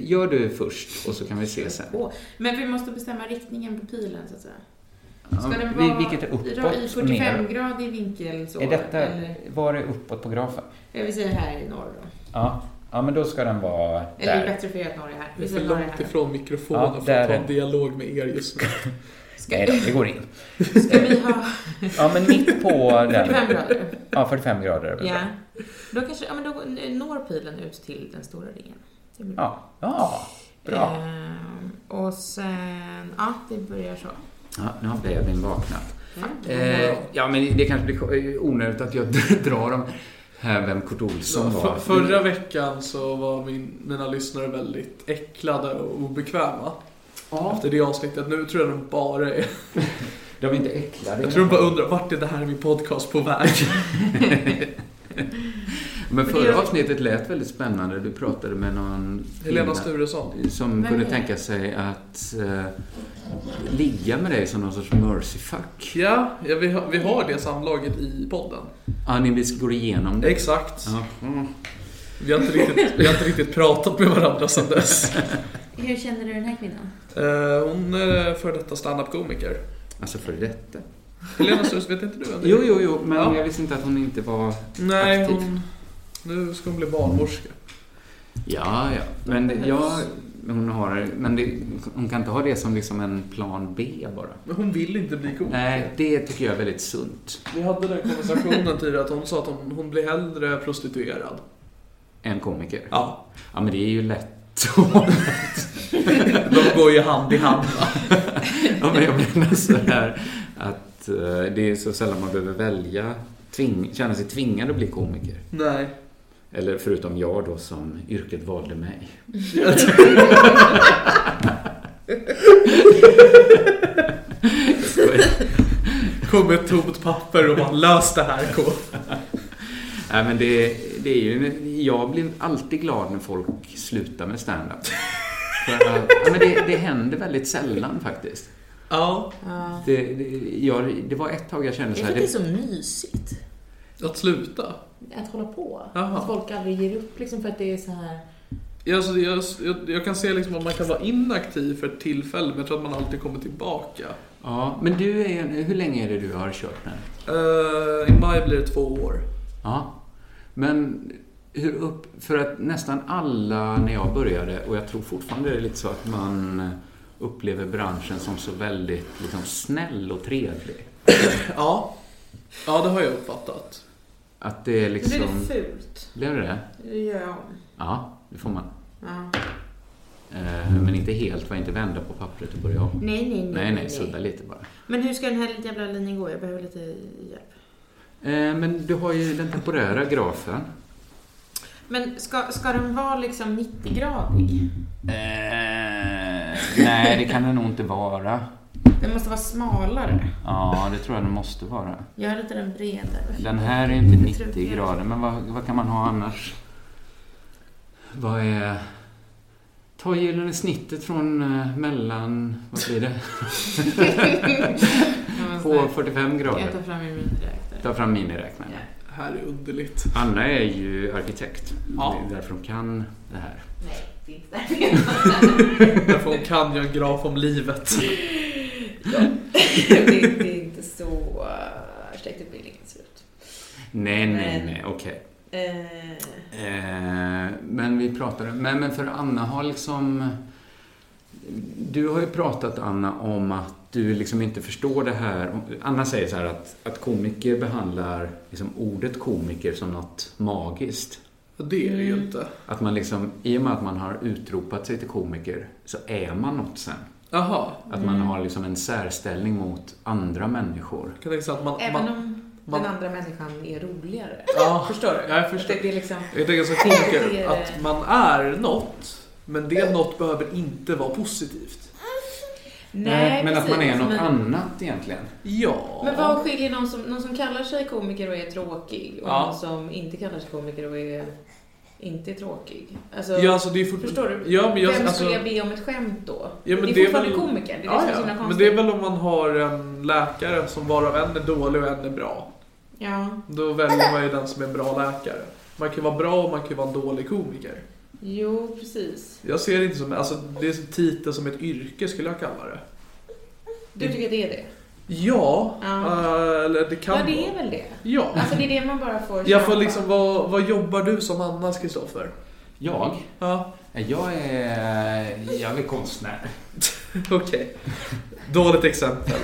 Speaker 5: Gör du först och så kan vi se sen.
Speaker 6: Åh, Men vi måste bestämma riktningen på pilen, så att säga. Ska
Speaker 5: Ja,
Speaker 6: den
Speaker 5: vi-
Speaker 6: vara
Speaker 8: vilket är uppåt
Speaker 6: i
Speaker 8: och
Speaker 6: 45-gradig vinkel? Så,
Speaker 8: Är detta,
Speaker 6: Eller,
Speaker 8: var är uppåt på grafen?
Speaker 6: jag vill säga här i norr då.
Speaker 8: Ja, ja men då ska den vara
Speaker 6: Eller det är
Speaker 8: där.
Speaker 6: bättre för er att norr är här.
Speaker 4: Det är
Speaker 6: Vi
Speaker 4: för
Speaker 6: säger norr är
Speaker 4: långt
Speaker 6: här.
Speaker 4: ifrån mikrofonen
Speaker 8: Ja,
Speaker 4: för
Speaker 8: där
Speaker 4: att ha
Speaker 8: är
Speaker 4: en
Speaker 8: det.
Speaker 4: dialog med er just nu.
Speaker 8: Nej då, det går in.
Speaker 6: Ska vi ha
Speaker 8: Ja, men mitt på den.
Speaker 6: 45 grader?
Speaker 8: Ja, 45 grader. är väl
Speaker 6: Ja.
Speaker 8: bra.
Speaker 6: Då kanske, ja men då når pilen ut till den stora ringen. Det blir bra.
Speaker 8: Ja, ja bra.
Speaker 6: Ehm, och sen, ja vi börjar så.
Speaker 5: Ja, nu har babyn vaknat. Eh, ja, men det kanske blir onödigt att jag drar om här vem Kurt Olsson
Speaker 4: För,
Speaker 5: var.
Speaker 4: förra veckan så var min, mina lyssnare väldigt äcklade och obekväma.
Speaker 5: Ja,
Speaker 4: Efter det avsnittet. Nu tror jag de bara är...
Speaker 5: de är inte äcklade.
Speaker 4: Jag tror de bara undrar vart är det här min podcast på väg?
Speaker 5: Men
Speaker 6: det
Speaker 5: förra
Speaker 6: gör-
Speaker 5: avsnittet lät väldigt spännande. Du pratade med någon
Speaker 4: Helena
Speaker 5: kvinna
Speaker 4: Sturesson.
Speaker 5: som
Speaker 6: Vem
Speaker 5: kunde
Speaker 6: är det?
Speaker 5: tänka sig att eh, ligga med dig som någon sorts mercy fuck.
Speaker 4: Ja, ja vi, har, vi har det samlaget i podden.
Speaker 5: Ja, ni vis- går igenom det.
Speaker 4: Exakt.
Speaker 5: Ja. Mm.
Speaker 4: Vi, har inte riktigt, vi har inte riktigt pratat med varandra sedan dess.
Speaker 7: Hur känner du den här kvinnan?
Speaker 4: Eh, hon är före detta standup-komiker.
Speaker 5: Alltså för detta.
Speaker 4: Helena Sturesson, vet inte du vem det är?
Speaker 5: Jo, jo, jo, men
Speaker 4: Ja.
Speaker 5: jag visste inte att hon inte var...
Speaker 4: Nej,
Speaker 5: aktiv.
Speaker 4: hon... Nu ska hon bli barnmorska.
Speaker 5: Ja, ja. Men jag... Hon har... Men det, hon kan inte ha det som liksom en plan B bara.
Speaker 4: Men hon vill inte bli komiker.
Speaker 5: Nej, det tycker jag är väldigt sunt.
Speaker 4: Vi hade den konversationen tidigare att hon sa att hon, hon blir hellre prostituerad.
Speaker 5: En komiker.
Speaker 4: Ja.
Speaker 5: Ja, men det är ju lätt. ja,
Speaker 4: De går ju hand i hand.
Speaker 5: men jag menar så här att eh, det är så sällan man behöver välja, tving, känna sig tvingad att bli komiker.
Speaker 4: Nej.
Speaker 5: Eller förutom jag då som yrket valde mig.
Speaker 4: Kom med ett tomt papper och bara lös det här K.
Speaker 5: Nej, men det, det är ju... Jag blir alltid glad när folk slutar med stand-up. För att- ja, men det, det händer väldigt sällan faktiskt.
Speaker 4: Ja.
Speaker 6: Ja.
Speaker 5: Det, det, jag, det var ett tag jag kände
Speaker 7: Jag
Speaker 5: så här...
Speaker 7: tycker det är
Speaker 5: Det,
Speaker 7: så mysigt.
Speaker 4: Att sluta.
Speaker 7: Att hålla på.
Speaker 4: Jaha.
Speaker 7: Att folk aldrig ger upp liksom för att det är så här.
Speaker 4: Ja, Alltså, jag, jag, jag kan se liksom att man kan vara inaktiv för ett tillfälle, men jag tror att man alltid kommer tillbaka.
Speaker 5: ja, men du är, ju- hur länge är det du har kört nu?
Speaker 4: Eh, I maj blir det två år.
Speaker 5: Ja. Men hur upp... För att nästan alla när jag började, och jag tror fortfarande det är lite så att man upplever branschen som så väldigt liksom, snäll och trevlig.
Speaker 4: Ja. Ja, det har jag uppfattat.
Speaker 5: Att det är
Speaker 6: Det blir
Speaker 5: liksom...
Speaker 6: fult.
Speaker 5: Blev det det?
Speaker 6: Det gör jag om.
Speaker 5: Ja, det får man.
Speaker 6: Ja.
Speaker 5: Eh, Men inte helt, var inte vända på pappret och börja om.
Speaker 6: Nej, nej, nej.
Speaker 5: Nej, nej, sudda lite bara.
Speaker 6: Men hur ska den här jävla linjen gå? Jag behöver lite hjälp.
Speaker 5: Eh, Men du har ju den temporära grafen.
Speaker 6: Men ska, ska den vara liksom
Speaker 5: Mm.
Speaker 6: 90-gradig?
Speaker 5: Eh, nej, det kan den nog inte vara.
Speaker 6: Den måste vara smalare.
Speaker 5: Mm. Ja, det tror jag den måste vara.
Speaker 7: Gör lite den bredare.
Speaker 5: Den här är inte
Speaker 6: tror
Speaker 5: 90
Speaker 6: jag.
Speaker 5: grader, men vad, vad kan man ha annars? Vad är... Ta gyllene snittet från eh, mellan... Vad blir det? På 45
Speaker 6: Jag
Speaker 5: grader.
Speaker 6: tar fram min miniräknare.
Speaker 5: Ta fram miniräknaren.
Speaker 6: Ja.
Speaker 4: Det här är underligt.
Speaker 5: Anna är ju arkitekt.
Speaker 4: Ja.
Speaker 5: Det är därför hon kan det här.
Speaker 6: Nej, det är inte
Speaker 4: Därför hon kan ju en graf om livet.
Speaker 7: det, är- det är inte så
Speaker 6: äh,
Speaker 7: uh, arkitektutbildningen ser ut.
Speaker 5: Nej, nej,
Speaker 7: Nej.
Speaker 5: nej, okej.
Speaker 7: Eh,
Speaker 5: Eh, men vi pratade... Men, men för Anna har liksom... Du har ju pratat, Anna, om att du liksom inte förstår det här. Anna säger så här att, att komiker behandlar liksom ordet komiker som något magiskt.
Speaker 4: Det är det ju inte.
Speaker 5: Att man liksom, i och med att man har utropat sig till komiker, så är man något sen.
Speaker 4: Jaha.
Speaker 5: Att man har liksom en särställning mot andra människor.
Speaker 4: Jag kan tänka sig att man...
Speaker 6: Även
Speaker 4: man
Speaker 6: om
Speaker 4: man-
Speaker 6: den andra människan är roligare.
Speaker 4: Ja,
Speaker 6: Förstår du?
Speaker 4: jag förstår.
Speaker 6: Det, det är liksom...
Speaker 4: jag tänker som komiker,
Speaker 6: Det-
Speaker 4: att man är något, men det något behöver inte vara positivt.
Speaker 6: Nej,
Speaker 5: men att man är
Speaker 6: precis,
Speaker 5: något
Speaker 6: men-
Speaker 5: annat egentligen.
Speaker 4: Ja.
Speaker 6: Men vad skiljer någon som, någon som kallar sig komiker och är tråkig och
Speaker 4: Ja.
Speaker 6: någon som inte kallar sig komiker och är inte är tråkig? Alltså,
Speaker 4: Ja, alltså det är fortfarande...
Speaker 6: förstår du?
Speaker 4: Ja, men jag,
Speaker 6: Vem
Speaker 4: alltså,
Speaker 6: skulle jag be om ett skämt då?
Speaker 4: Ja, men
Speaker 6: det är
Speaker 4: det är
Speaker 6: fortfarande
Speaker 4: väl-
Speaker 6: komiker, det är liksom
Speaker 4: Ja,
Speaker 6: det som är så himla
Speaker 4: ja. Men
Speaker 6: konstigt.
Speaker 4: det är väl om man har en läkare som varav en är dålig och en är bra.
Speaker 6: Ja,
Speaker 4: Då väljer man ju den som är en bra läkare. Man kan vara bra och man kan ju vara en dålig komiker.
Speaker 6: jo precis.
Speaker 4: Jag ser det inte som... Alltså det är som titel som ett yrke skulle jag kalla det.
Speaker 6: Du tycker det är det?
Speaker 4: Ja,
Speaker 6: Ja.
Speaker 4: eh, eller det kan
Speaker 6: ja, det är
Speaker 4: vara.
Speaker 6: väl det.
Speaker 4: Ja.
Speaker 6: Alltså det är det man bara får
Speaker 4: Jag får
Speaker 6: köpa.
Speaker 4: liksom, vad, vad jobbar du som annars Kristoffer?
Speaker 5: Jag?
Speaker 4: Ja,
Speaker 5: Jag är... Jag är konstnär.
Speaker 4: okej. Dåligt exempel.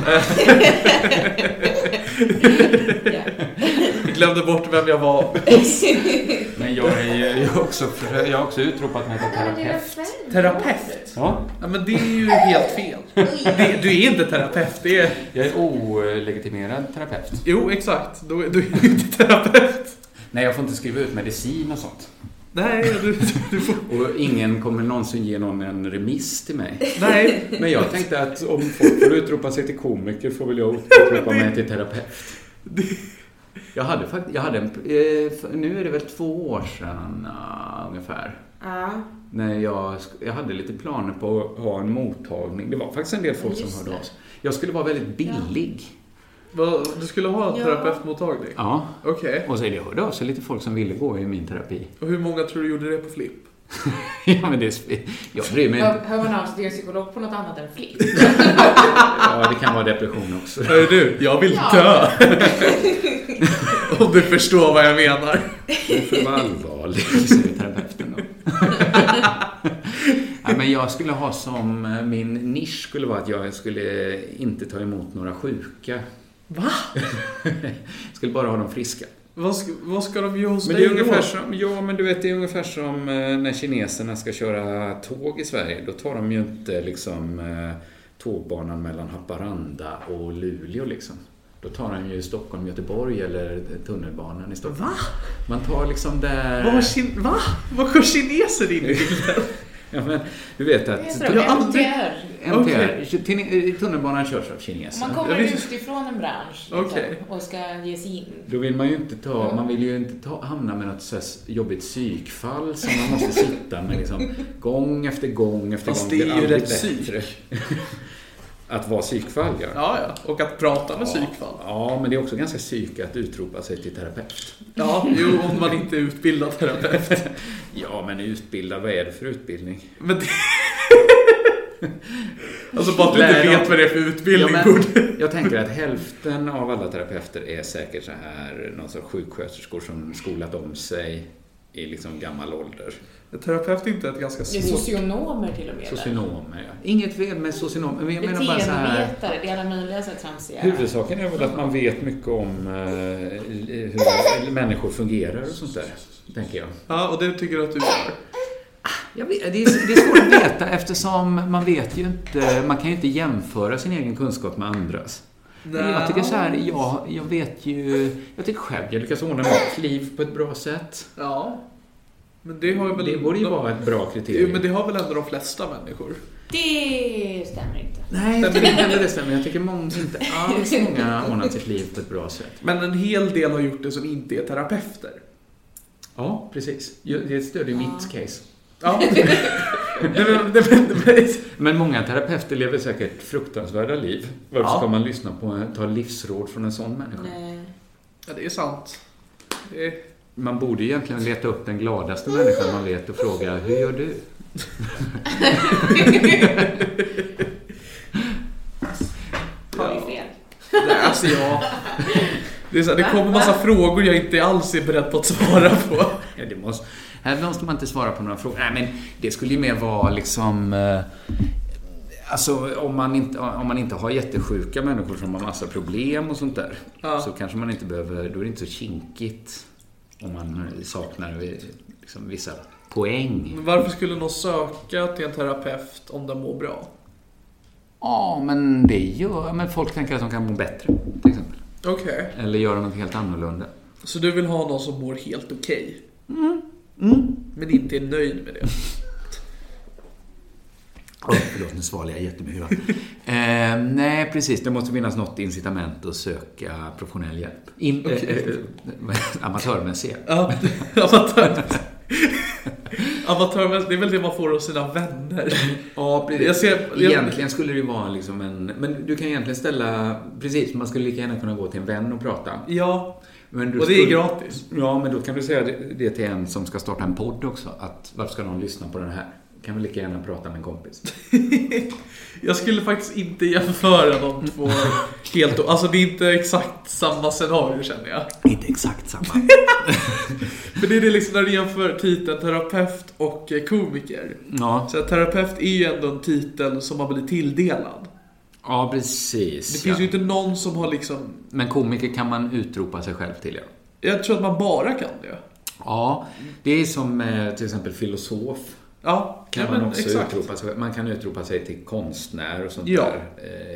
Speaker 6: Ja.
Speaker 4: Jag glömde bort vem jag var.
Speaker 5: Men jag är ju jag är också, jag har också utropat mig till
Speaker 7: vad är dina
Speaker 5: terapeut.
Speaker 7: färger?
Speaker 4: Terapeut?
Speaker 5: Ja,
Speaker 4: Ja, men det är ju helt fel. Det, du är inte terapeut, det är...
Speaker 5: jag är olegitimerad terapeut.
Speaker 4: Jo, exakt. Du, du är inte terapeut.
Speaker 5: Nej, jag får inte skriva ut medicin och sånt.
Speaker 4: Nej, du, du får...
Speaker 5: Och ingen kommer någonsin ge någon en remiss till mig.
Speaker 4: Nej.
Speaker 5: Men jag tänkte att om folk får utropa sig till komiker får väl jag utropa mig till terapeut. Jag hade faktiskt, jag hade en, eh, för- nu är det väl två år sedan ah, ungefär.
Speaker 6: Ja,
Speaker 5: När jag, sk- jag hade lite planer på att ha en mottagning. Det var faktiskt en del folk
Speaker 6: Just
Speaker 5: som
Speaker 6: det.
Speaker 5: hörde av sig. Jag skulle vara väldigt billig.
Speaker 4: Vad- Du skulle ha en
Speaker 6: Ja.
Speaker 4: terapeutmottagning?
Speaker 5: Ja.
Speaker 4: Okej.
Speaker 5: Och så är det hörde av sig lite folk som ville gå i min terapi.
Speaker 4: Och hur många tror du gjorde det på flipp?
Speaker 5: ja, men det, är sp- jag bryr mig
Speaker 6: hör,
Speaker 5: inte.
Speaker 6: hör man av sig till en psykolog på något annat än flipp?
Speaker 5: Ja, det kan vara depression också.
Speaker 4: Hör du, jag vill dö! Om du förstår vad jag menar.
Speaker 5: Du får vara allvarlig, säger terapeuten då. Nej, men jag skulle ha som, eh, min nisch skulle vara att jag skulle inte ta emot några sjuka.
Speaker 4: Va?
Speaker 5: skulle bara ha dem friska.
Speaker 4: Vad ska, vad ska de göra hos
Speaker 5: Men det
Speaker 4: dig
Speaker 5: är ungefär
Speaker 4: då?
Speaker 5: som, ja men du vet, det är ungefär som eh, när kineserna ska köra tåg i Sverige. Då tar de ju inte liksom eh, tågbanan mellan Haparanda och Luleå liksom. Då tar de ju Stockholm, Göteborg eller tunnelbanan i Stockholm.
Speaker 4: Va?
Speaker 5: Man tar liksom där...
Speaker 4: Vad har kin- Va? Vad går kineser in i?
Speaker 5: Ja, men du vet
Speaker 6: Det
Speaker 5: att...
Speaker 6: heter de,
Speaker 4: Jag har aldrig-
Speaker 6: MTR.
Speaker 5: MTR,
Speaker 4: Okej.
Speaker 5: tin- tunnelbanan körs av
Speaker 6: Om
Speaker 5: kineser.
Speaker 6: man kommer
Speaker 4: Jag visste-
Speaker 6: utifrån en bransch liksom,
Speaker 4: Okej.
Speaker 6: och ska ge sig in.
Speaker 5: Då vill man ju inte ta, man vill ju inte ta, hamna med något så här jobbigt psykfall som man måste sitta med liksom gång efter gång efter
Speaker 4: Fast
Speaker 5: gång.
Speaker 4: det är ju
Speaker 5: aldrig
Speaker 4: rätt
Speaker 5: bättre. att vara psykfall, ja.
Speaker 4: Ja, ja. Och att prata med psykfall.
Speaker 5: Ja, men det är också ganska psyk att utropa sig till terapeut.
Speaker 4: Ja, jo, om man inte är utbildad terapeut.
Speaker 5: Ja, men utbildad, vad är det för utbildning?
Speaker 4: Men det... Alltså bara att du
Speaker 5: Lär
Speaker 4: inte
Speaker 5: dem.
Speaker 4: vet vad det är för utbildning.
Speaker 5: Ja,
Speaker 4: borde-
Speaker 5: men, jag tänker att hälften av alla terapeuter är säkert så här, någon sorts sjuksköterskor som skolat om sig i liksom gammal ålder.
Speaker 4: Terapeut är inte ett ganska
Speaker 6: Det är
Speaker 4: svårt...
Speaker 6: socionomer till och med. där.
Speaker 5: Socionomer, ja. Inget fel med socionomer, men jag menar bara så här...
Speaker 6: Beteendevetare. Det är alla möjliga så här tramsiga.
Speaker 5: Huvudsaken är väl att man vet mycket om eh, hur människor fungerar och sånt där, tänker jag.
Speaker 4: Ja, och det tycker jag att du gör.
Speaker 5: Jag vet, det, är, det är svårt att veta eftersom man vet ju inte, man kan ju inte jämföra sin egen kunskap med andras. Men jag tycker så här, jag, jag vet ju, jag tycker själv jag lyckas ordna mitt liv på ett bra sätt.
Speaker 4: Ja. Men det har väl...
Speaker 5: Det borde ju vara ett bra
Speaker 4: Jo,
Speaker 5: kriterium.
Speaker 4: men det har väl ändå de flesta människor?
Speaker 6: Det stämmer inte.
Speaker 5: Nej, jag tycker inte heller det stämmer. Jag tycker många, inte alls många har ordnat sitt liv på ett bra sätt.
Speaker 4: Men en hel del har gjort det som inte är terapeuter.
Speaker 5: Ja, precis. Ju- Det stödjer mitt case.
Speaker 4: Ja. Nej, men- nej, men- men-
Speaker 5: Men många terapeuter lever säkert fruktansvärda liv. Varför
Speaker 4: Ja.
Speaker 5: ska man lyssna på, ta livsråd från en sån människa?
Speaker 6: Nej.
Speaker 4: ja, det är sant. Det är-
Speaker 5: Man borde ju egentligen leta upp den gladaste människan man vet och fråga Hur gör du?
Speaker 6: Har vi fel?
Speaker 4: Nej, alltså jag... Det, är så här, det kommer massa frågor jag inte alls är beredd på att svara på.
Speaker 5: Ja, det måste, här måste man inte svara på några frågor. Nej, men det skulle ju mer vara liksom... eh, Alltså om man, inte, om man inte har jättesjuka människor som har massa problem och sånt där.
Speaker 4: Ja.
Speaker 5: Så kanske man inte behöver... Då är det inte så kinkigt. Om man saknar eh, liksom, vissa poäng.
Speaker 4: Men varför skulle någon söka till en terapeut om den mår bra?
Speaker 5: Ja, men det gör... Men folk tänker att de kan må bättre, till exempel.
Speaker 4: Okej.
Speaker 5: Eller göra något helt annorlunda.
Speaker 4: Så du vill ha någon som mår helt okej? Mm. Men inte är nöjd med det?
Speaker 5: Oj, förlåt, nu svalde jag jättemycket. eh, nej, precis. Det måste finnas något incitament att söka professionell hjälp. In, eh, eh, amatörmässig hjälp.
Speaker 4: Ja, amatör. Amatör, det är väl det man får av sina vänner.
Speaker 5: Ja,
Speaker 4: precis. Jag ser- jag-
Speaker 5: Egentligen skulle det ju vara liksom en... Men du kan egentligen ställa... Precis, man skulle lika gärna kunna gå till en vän och prata.
Speaker 4: Ja,
Speaker 5: Men du
Speaker 4: och det är
Speaker 5: skulle-
Speaker 4: gratis.
Speaker 5: Ja, men då kan du säga det- det till en som ska starta en podd också. Att varför ska någon lyssna på den här? Kan vi lika gärna prata med en kompis?
Speaker 4: Jag skulle faktiskt inte jämföra de två helt. o- Alltså det är inte exakt samma scenario känner jag.
Speaker 5: Inte exakt samma.
Speaker 4: Men det är det liksom när du jämför titeln terapeut och eh, komiker.
Speaker 5: Ja,
Speaker 4: Så här, terapeut är ju ändå en titel som har blivit tilldelad.
Speaker 5: ja
Speaker 4: Det
Speaker 5: precis.
Speaker 4: finns ju
Speaker 5: ja.
Speaker 4: inte någon som har liksom...
Speaker 5: Men komiker kan man utropa sig själv till, ja.
Speaker 4: Jag tror att man bara kan det.
Speaker 5: Ja, det är som eh, till exempel filosof.
Speaker 4: Ja,
Speaker 5: Kan
Speaker 4: ja,
Speaker 5: man,
Speaker 4: men
Speaker 5: också
Speaker 4: exakt.
Speaker 5: utropa sig, man kan utropa sig till konstnär och sånt
Speaker 4: Ja.
Speaker 5: där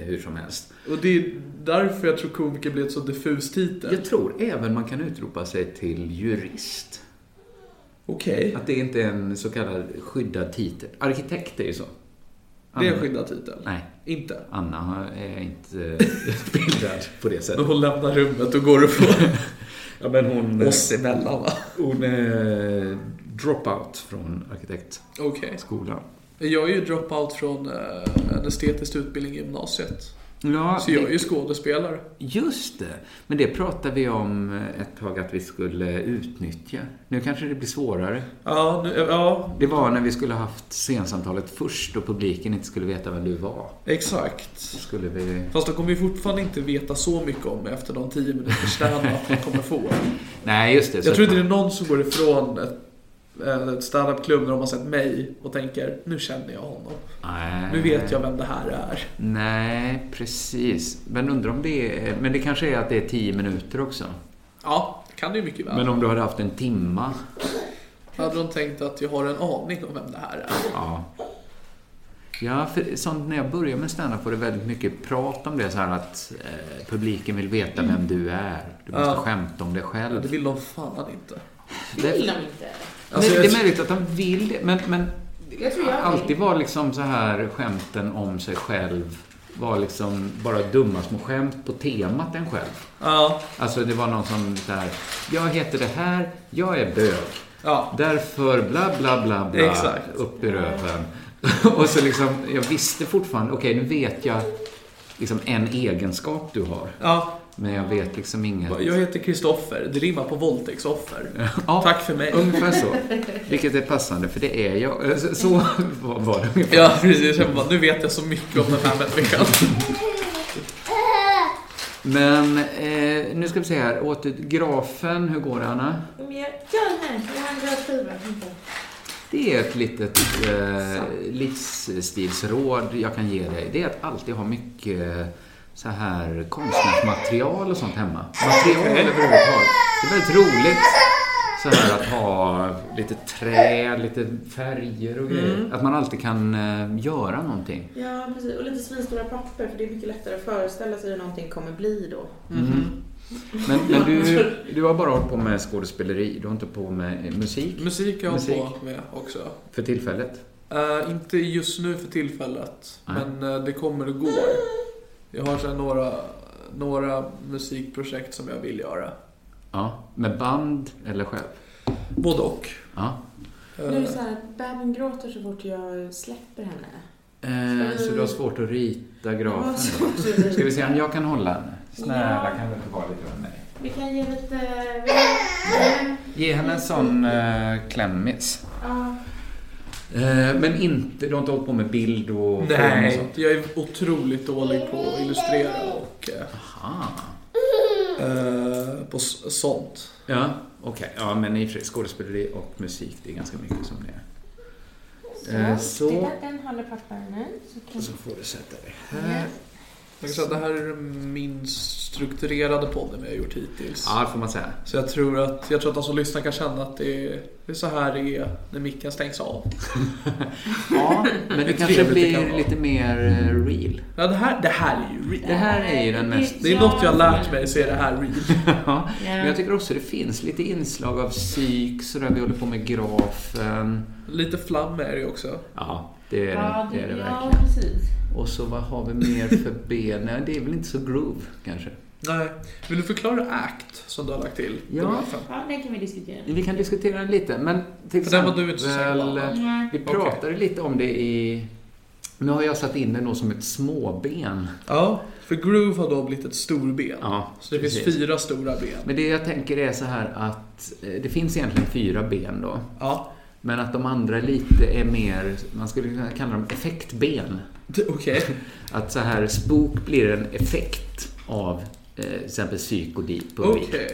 Speaker 5: eh, hur som helst.
Speaker 4: Och det är därför jag tror komiker blir ett så diffus titel.
Speaker 5: Jag tror även man kan utropa sig till jurist.
Speaker 4: Okej.
Speaker 5: Att det inte är en så kallad skyddad titel. Arkitekt är ju så.
Speaker 4: Det är en skyddad titel.
Speaker 5: Nej,
Speaker 4: Inte.
Speaker 5: Anna har- är inte bildad på det
Speaker 4: Men
Speaker 5: sättet.
Speaker 4: hon lämnar rummet och går och får...
Speaker 5: Ja, men hon... eh,
Speaker 4: oss emellan va?
Speaker 5: Hon är dropout från arkitektskolan.
Speaker 4: Okej. Jag är ju dropout från eh, en estetisk utbildning i gymnasiet.
Speaker 5: Ja,
Speaker 4: Så jag är ju skådespelare.
Speaker 5: just det. Men det pratade vi om eh, ett tag att vi skulle utnyttja. Nu kanske det blir svårare.
Speaker 4: Ja, nu, ja
Speaker 5: Det var när vi skulle haft scensamtalet först och publiken inte skulle veta vem du var.
Speaker 4: exakt.
Speaker 5: Skulle vi...
Speaker 4: Fast de kommer ju fortfarande inte veta så mycket om mig efter de 10 minuters standup de kommer få.
Speaker 5: Nej, just det. Så
Speaker 4: Jag tror inte det är någon som går ifrån ett, eh, ett standup-klubb när de har sett mig och tänker nu känner jag honom.
Speaker 5: Nej.
Speaker 4: Nu vet jag vem det här är.
Speaker 5: Nej, precis. Men undrar om det är... Men det kanske är att det är tio minuter också.
Speaker 4: Ja, det kan det ju mycket väl.
Speaker 5: Men om du hade haft en timma.
Speaker 4: Hade de tänkt att jag har en aning om vem det här är?
Speaker 5: Ja. Ja, för sånt när jag började med standup var det väldigt mycket prat om det så här att eh, publiken vill veta vem du är. Du måste
Speaker 4: Mm. Ja.
Speaker 5: skämta om dig
Speaker 4: Men det
Speaker 5: själv.
Speaker 4: vill de fan inte.
Speaker 7: Det vill de inte.
Speaker 4: Alltså,
Speaker 5: men,
Speaker 4: jag-
Speaker 5: det är möjligt att de vill det, men, men
Speaker 6: Jag tror jag
Speaker 5: alltid var liksom så här skämten om sig själv var liksom bara dumma små skämt på temat en själv.
Speaker 4: Ja,
Speaker 5: Alltså det var någon som så här, jag heter det här, jag är bög.
Speaker 4: ja.
Speaker 5: Därför bla bla bla bla
Speaker 4: Exakt.
Speaker 5: upp i röven. och så liksom, jag visste fortfarande, okej nu vet jag liksom en egenskap du har.
Speaker 4: ja.
Speaker 5: Men jag vet liksom inget.
Speaker 4: Jag heter Kristoffer, det rimmar på våldtäktsoffer.
Speaker 5: Ja,
Speaker 4: Tack för mig.
Speaker 5: Ungefär så. Vilket är passande, för det är jag. Eh, Så- Så var- var det ungefär.
Speaker 4: Ja, precis. Jag känner bara, nu vet jag så mycket om den här människan.
Speaker 5: Men eh, nu ska vi se här, åter grafen, hur går det Anna?
Speaker 7: Men jag, jag är här. Jag har en röd skiva.
Speaker 5: Det är ett litet eh, livsstilsråd jag kan ge dig. Det är att alltid ha mycket eh, så här konstnärsmaterial och sånt hemma. Material överhuvudtaget. Det är väldigt roligt så här att ha lite trä, lite färger och grejer. Att man alltid kan eh, göra någonting.
Speaker 7: Ja, precis. Och lite svinstora papper för det är mycket lättare att föreställa sig hur någonting kommer bli då.
Speaker 5: Mm. Men, men du, du har bara hållit på med skådespeleri, du har inte på med eh, musik
Speaker 4: Musik är jag
Speaker 5: Musik.
Speaker 4: på med också.
Speaker 5: för tillfället.
Speaker 4: Eh, inte just nu för tillfället,
Speaker 5: Nej.
Speaker 4: men eh, det kommer och går. Jag har sedan några, några musikprojekt som jag vill göra.
Speaker 5: Ja, med band eller själv.
Speaker 4: Både och.
Speaker 5: Ja.
Speaker 7: Nu är
Speaker 4: Eh,
Speaker 7: det så här att bebisen gråter så fort jag släpper henne.
Speaker 5: Eh, så du har svårt att rita grafen? Ska vi se om jag kan hålla henne?
Speaker 7: Snälla,
Speaker 5: kan du inte vara lite med mig?
Speaker 7: Vi kan ge lite...
Speaker 5: Ge henne en sån eh, klämmis.
Speaker 7: Ja,
Speaker 5: Eh, men inte, du har inte hållit på med bild och film och
Speaker 4: Nej,
Speaker 5: sånt?
Speaker 4: jag är otroligt dålig på att illustrera och
Speaker 5: Ah.
Speaker 4: eh, på s- sånt.
Speaker 5: Ja, okej. Ja, men i och för sig, skådespeleri och musik, det är ganska mycket som det är. Eh, så.
Speaker 7: Titta, den håller pappa nu. Så kan...
Speaker 5: Och så får du sätta dig
Speaker 7: Ja.
Speaker 5: här.
Speaker 4: Jag kan säga att det här är den minst strukturerade podden vi har gjort hittills.
Speaker 5: Ja, det får man säga.
Speaker 4: Så jag tror, att, jag tror att de som lyssnar kan känna att det är, det är så här det är när micken stängs av.
Speaker 5: Ja, men det kanske
Speaker 4: trevligt det kan
Speaker 5: blir
Speaker 4: vara.
Speaker 5: lite mer eh, real.
Speaker 4: Ja, det, här, det här är ju real.
Speaker 5: Det här är ju den mest...
Speaker 4: Det är något jag har lärt mig så är det här real.
Speaker 5: Ja, men jag tycker också det finns lite inslag av psyk, sådär vi håller på med grafen.
Speaker 4: Lite flam är det ju också.
Speaker 5: Ja, det är
Speaker 6: Ja,
Speaker 5: det, det, är det
Speaker 6: ja,
Speaker 5: verkligen.
Speaker 6: precis.
Speaker 5: Och så vad har vi mer för ben? Nej, det är väl inte så groove kanske.
Speaker 4: Nej. Vill du förklara act som du har lagt till?
Speaker 5: Ja.
Speaker 4: De här fem.
Speaker 6: Ja, det kan vi diskutera.
Speaker 5: Vi kan diskutera den lite, men till
Speaker 4: För den var du inte så
Speaker 5: exempel,
Speaker 4: säker på, va?
Speaker 7: Mm.
Speaker 6: Nej.
Speaker 5: Vi pratade lite om det i... Nu har jag satt in det nog som ett småben.
Speaker 4: Ja, för groove har då blivit ett storben.
Speaker 5: Ja,
Speaker 4: Så det
Speaker 5: precis.
Speaker 4: finns fyra stora ben.
Speaker 5: Men det jag tänker är så här att eh, det finns egentligen fyra ben då.
Speaker 4: Ja,
Speaker 5: Men att de andra lite är mer, man skulle kunna kalla dem effektben.
Speaker 4: det- okej.
Speaker 5: Att så här spook blir en effekt av eh, till exempel psykodeep och
Speaker 4: Okej.
Speaker 5: read.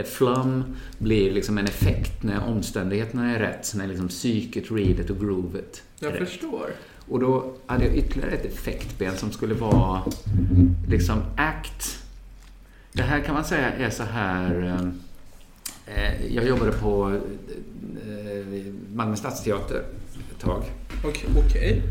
Speaker 5: Eh, Flum blir liksom en effekt när omständigheterna är rätt, så när liksom psyket, readet och groovet är
Speaker 4: Jag
Speaker 5: rätt.
Speaker 4: förstår.
Speaker 5: Och då hade jag ytterligare ett effektben som skulle vara liksom act. Det här kan man säga är så här... eh, eh, Jag jobbade på eh, Malmö Stadsteater ett tag.
Speaker 4: Okej. okej.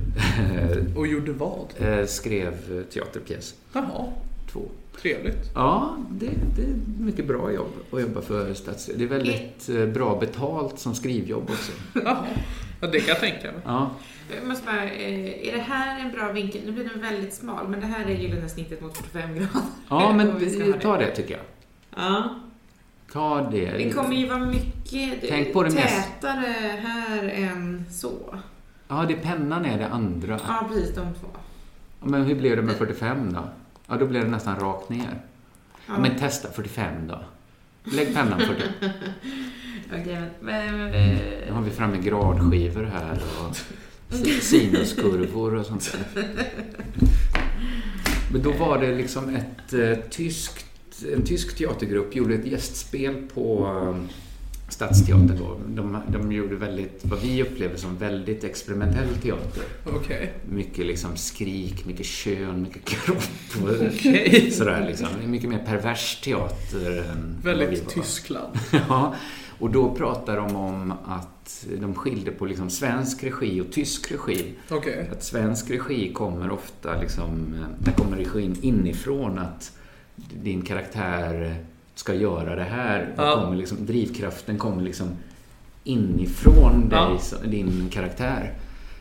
Speaker 4: Och gjorde vad?
Speaker 5: Eh, Skrev teaterpjäs
Speaker 4: Jaha,
Speaker 5: två.
Speaker 4: trevligt.
Speaker 5: Ja, det, det är mycket bra jobb att jobba för Stadsteatern. Det är väldigt eh, bra betalt som skrivjobb också.
Speaker 4: Jaha. Ja, det kan jag tänka mig.
Speaker 5: Ja,
Speaker 7: Jag måste bara, eh, är det här en bra vinkel? Nu blir den väldigt smal, men det här är gyllene snittet mot 45 grader.
Speaker 5: ja
Speaker 7: Om Eh, vi ska ha
Speaker 5: men
Speaker 7: det.
Speaker 5: ta det tycker jag.
Speaker 7: Ja.
Speaker 5: Ta det.
Speaker 7: Det kommer ju vara mycket
Speaker 5: Eh, Tänk på det mest.
Speaker 7: tätare här än så.
Speaker 5: Ja, det pennan är det andra.
Speaker 7: Ja, precis de två.
Speaker 5: Ja, Men hur blev det med 45 då? Ja, då blev det nästan rakt ner. Ja.
Speaker 7: Ja.
Speaker 5: Men testa 45 då. Lägg pennan 45.
Speaker 7: Okej, men... eh, men, men
Speaker 5: Nu Mm. har vi framme gradskivor här och
Speaker 4: Mm.
Speaker 5: si- sinuskurvor och sånt där. Men då var det liksom ett eh, tyskt, en tysk teatergrupp gjorde ett gästspel på eh, Stadsteatern då. De, de gjorde väldigt, vad vi upplever som väldigt experimentell teater.
Speaker 4: Okej.
Speaker 5: Mycket liksom skrik, mycket kön, mycket kropp. och
Speaker 4: Okej.
Speaker 5: Sådär liksom. Det är Mycket mer pervers teater. än vad vi
Speaker 4: Väldigt
Speaker 5: var.
Speaker 4: Tyskland.
Speaker 5: Ja, och då pratar de om att de skilde på liksom svensk regi och tysk regi.
Speaker 4: Okej.
Speaker 5: Att svensk regi kommer ofta liksom, eh, där kommer regin inifrån att din karaktär ska göra det här. Då
Speaker 4: Ja.
Speaker 5: Kommer liksom, drivkraften kommer liksom inifrån dig,
Speaker 4: Ja.
Speaker 5: så- din karaktär.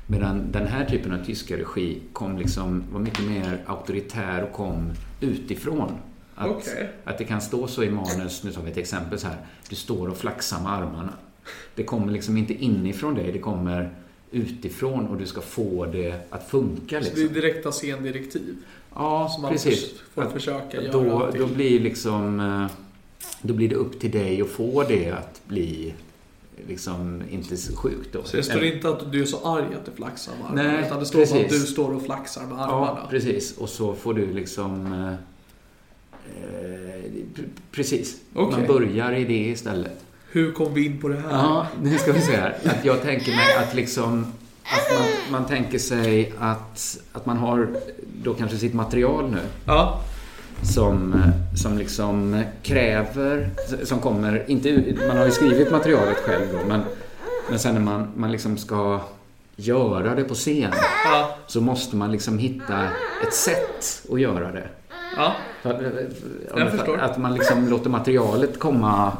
Speaker 5: Medan den här typen av tyska regi kom liksom, var mycket mer auktoritär och kom utifrån. Att,
Speaker 4: Okej.
Speaker 5: att det kan stå så i manus, nu tar vi ett exempel så här, du står och flaxar med armarna. Det kommer liksom inte inifrån dig, det kommer utifrån och du ska få det att funka.
Speaker 4: Så det är
Speaker 5: Liksom.
Speaker 4: direkta scendirektiv
Speaker 5: Ja,
Speaker 4: som man
Speaker 5: precis.
Speaker 4: förs- får
Speaker 5: Att-
Speaker 4: försöka göra.
Speaker 5: Då,
Speaker 4: till-
Speaker 5: då blir liksom, eh, då blir det upp till dig att få det att bli liksom inte sjukt då. Eh,
Speaker 4: Så det står inte att du är så arg att du flaxar med armarna,
Speaker 5: Nej,
Speaker 4: utan det står bara att du
Speaker 5: precis.
Speaker 4: står och flaxar med
Speaker 5: Ja,
Speaker 4: armarna.
Speaker 5: precis. Och så får du liksom... eh, eh, pr- Precis.
Speaker 4: Okej.
Speaker 5: Man börjar i det istället.
Speaker 4: Hur kom vi in på det här?
Speaker 5: Ja, nu ska vi se här. Att jag tänker mig att liksom... Att man, man tänker sig att, att man har då kanske sitt material nu
Speaker 4: Ja,
Speaker 5: som, eh, som liksom kräver, som kommer, inte ur- man har ju skrivit materialet själv då, men, men sen när man, man liksom ska göra det på scen
Speaker 4: ja,
Speaker 5: så måste man liksom hitta ett sätt att göra det.
Speaker 4: ja.
Speaker 5: För-
Speaker 4: Jag förstår.
Speaker 5: Att man liksom låter materialet komma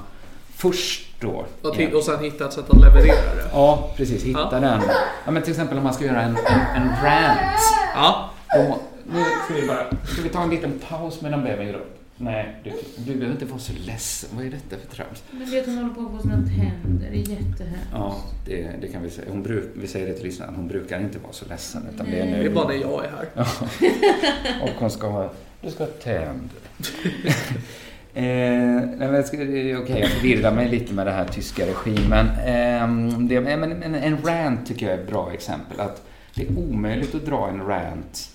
Speaker 5: först då.
Speaker 4: Och, till, och sen hitta ett sätt att leverera det.
Speaker 5: Ja, precis. Hitta
Speaker 4: Ja.
Speaker 5: den. Ja, men till exempel om man ska göra en, en, en rant.
Speaker 4: Ja,
Speaker 5: Då må- Nu ska vi bara... Ska vi ta en liten paus medan bebisen går upp? Nej, du, du behöver inte vara så ledsen. Vad är detta för trams?
Speaker 6: Men vet hon håller på att få sina tänder, det är jättehemskt.
Speaker 5: Ja, det, det kan vi säga. Hon bruk, vi säger det till lyssnaren. Hon brukar inte vara så ledsen. Utan det är
Speaker 4: det
Speaker 5: nu.
Speaker 4: är bara när jag är här.
Speaker 5: Och hon ska ha... Du ska ha tänder. eh, nej, men jag ska- Okej, jag förvirrar mig lite med det här tyska regimen. Eh, det, men, men en rant tycker jag är ett bra exempel. Att det är omöjligt att dra en rant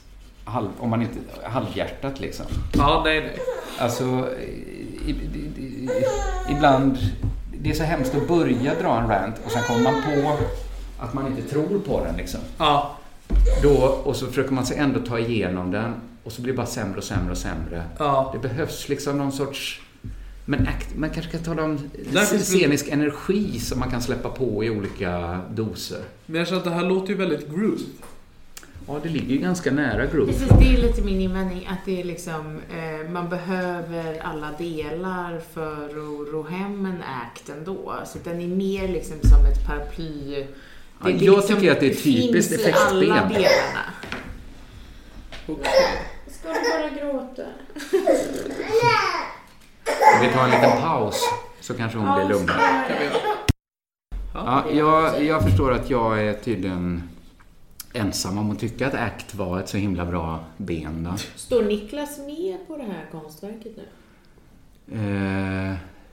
Speaker 5: halv, om man inte, halvhjärtat liksom.
Speaker 4: Ja, nej, nej.
Speaker 5: Alltså, i, i, i, i, ibland... Det är så hemskt att börja dra en rant och sen kommer man på att man inte tror på den liksom.
Speaker 4: Ja,
Speaker 5: Då, och så försöker man sig ändå ta igenom den och så blir det bara sämre och sämre och sämre.
Speaker 4: ja.
Speaker 5: Det behövs liksom någon sorts... Men akt, man kanske kan tala om
Speaker 4: Där finns väl-
Speaker 5: scenisk energi som man kan släppa på i olika doser.
Speaker 4: Men jag känner att det här låter ju väldigt groove.
Speaker 5: Ja, det ligger ju ganska nära groove.
Speaker 6: Precis, det är lite min invändning att det är liksom, eh, man behöver alla delar för att ro hem en act ändå. Så den är mer liksom som ett paraply. Det-
Speaker 5: Ja,
Speaker 6: det är
Speaker 5: jag tycker att det är typiskt
Speaker 6: finns i
Speaker 5: effektben.
Speaker 6: alla delarna.
Speaker 4: Okej.
Speaker 7: Ska du bara gråta?
Speaker 5: Om vi tar en liten paus så kanske hon blir lugnare. Ja, jag, jag förstår att jag är tydligen ensam om att tycka att ACT var ett så himla bra ben. Då.
Speaker 7: Står Niklas med på det här konstverket nu?
Speaker 5: Eh,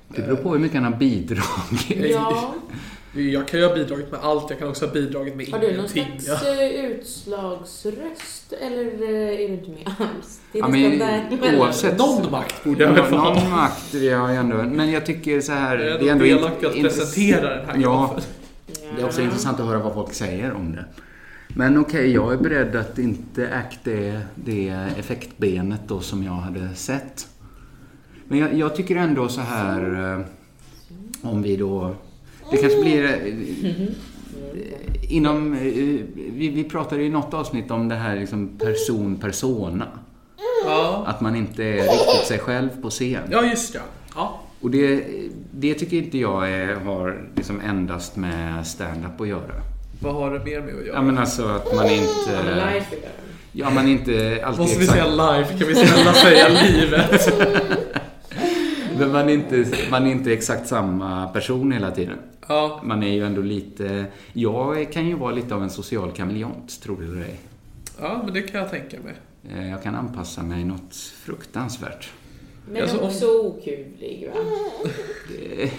Speaker 5: det beror på hur mycket han har bidragit.
Speaker 7: Ja.
Speaker 4: Jag kan ju ha bidragit med allt, jag kan också ha bidragit med
Speaker 7: Har du någon
Speaker 4: ingenting.
Speaker 7: slags
Speaker 4: Ja.
Speaker 7: eh, utslagsröst eller eh, är du inte med alls? Det är
Speaker 5: Ja,
Speaker 7: nästan
Speaker 5: men
Speaker 7: däremellan.
Speaker 5: oavsett-
Speaker 4: Någon makt borde jag väl
Speaker 5: Nå-
Speaker 4: få ha.
Speaker 5: Någon makt vi har ju ändå. Men jag tycker så här...
Speaker 4: Jag är ändå
Speaker 5: in-
Speaker 4: delaktig att
Speaker 5: intress-
Speaker 4: presentera den här
Speaker 5: Ja,
Speaker 4: grafen.
Speaker 5: det är också intressant att höra vad folk säger om det. Men okej, jag är beredd att inte ACT är det effektbenet då som jag hade sett. Men jag, jag tycker ändå så här... Eh, om vi då... Det kanske blir... eh, Inom, eh, vi, vi pratade ju i något avsnitt om det här liksom person-persona.
Speaker 4: Ja.
Speaker 5: Att man inte är riktigt sig själv på scen.
Speaker 4: ja, just ja. ja.
Speaker 5: Och det, det tycker inte jag är, har liksom endast med stand-up att göra.
Speaker 4: Vad har det mer med att göra?
Speaker 5: Ja men alltså att man inte...
Speaker 7: Life är
Speaker 5: Ja man inte alltid
Speaker 4: Måste vi
Speaker 5: exakt-
Speaker 4: säga live? Kan vi snälla säga livet?
Speaker 5: Men man är, inte, man är inte exakt samma person hela tiden.
Speaker 4: Ja,
Speaker 5: Man är ju ändå lite... Jag kan ju vara lite av en social kameleont, tror du eller ej.
Speaker 4: ja, men det kan jag tänka mig.
Speaker 5: Eh, Jag kan anpassa mig något fruktansvärt.
Speaker 7: Men
Speaker 4: Alltså, om-
Speaker 7: också okuvlig va?
Speaker 5: Det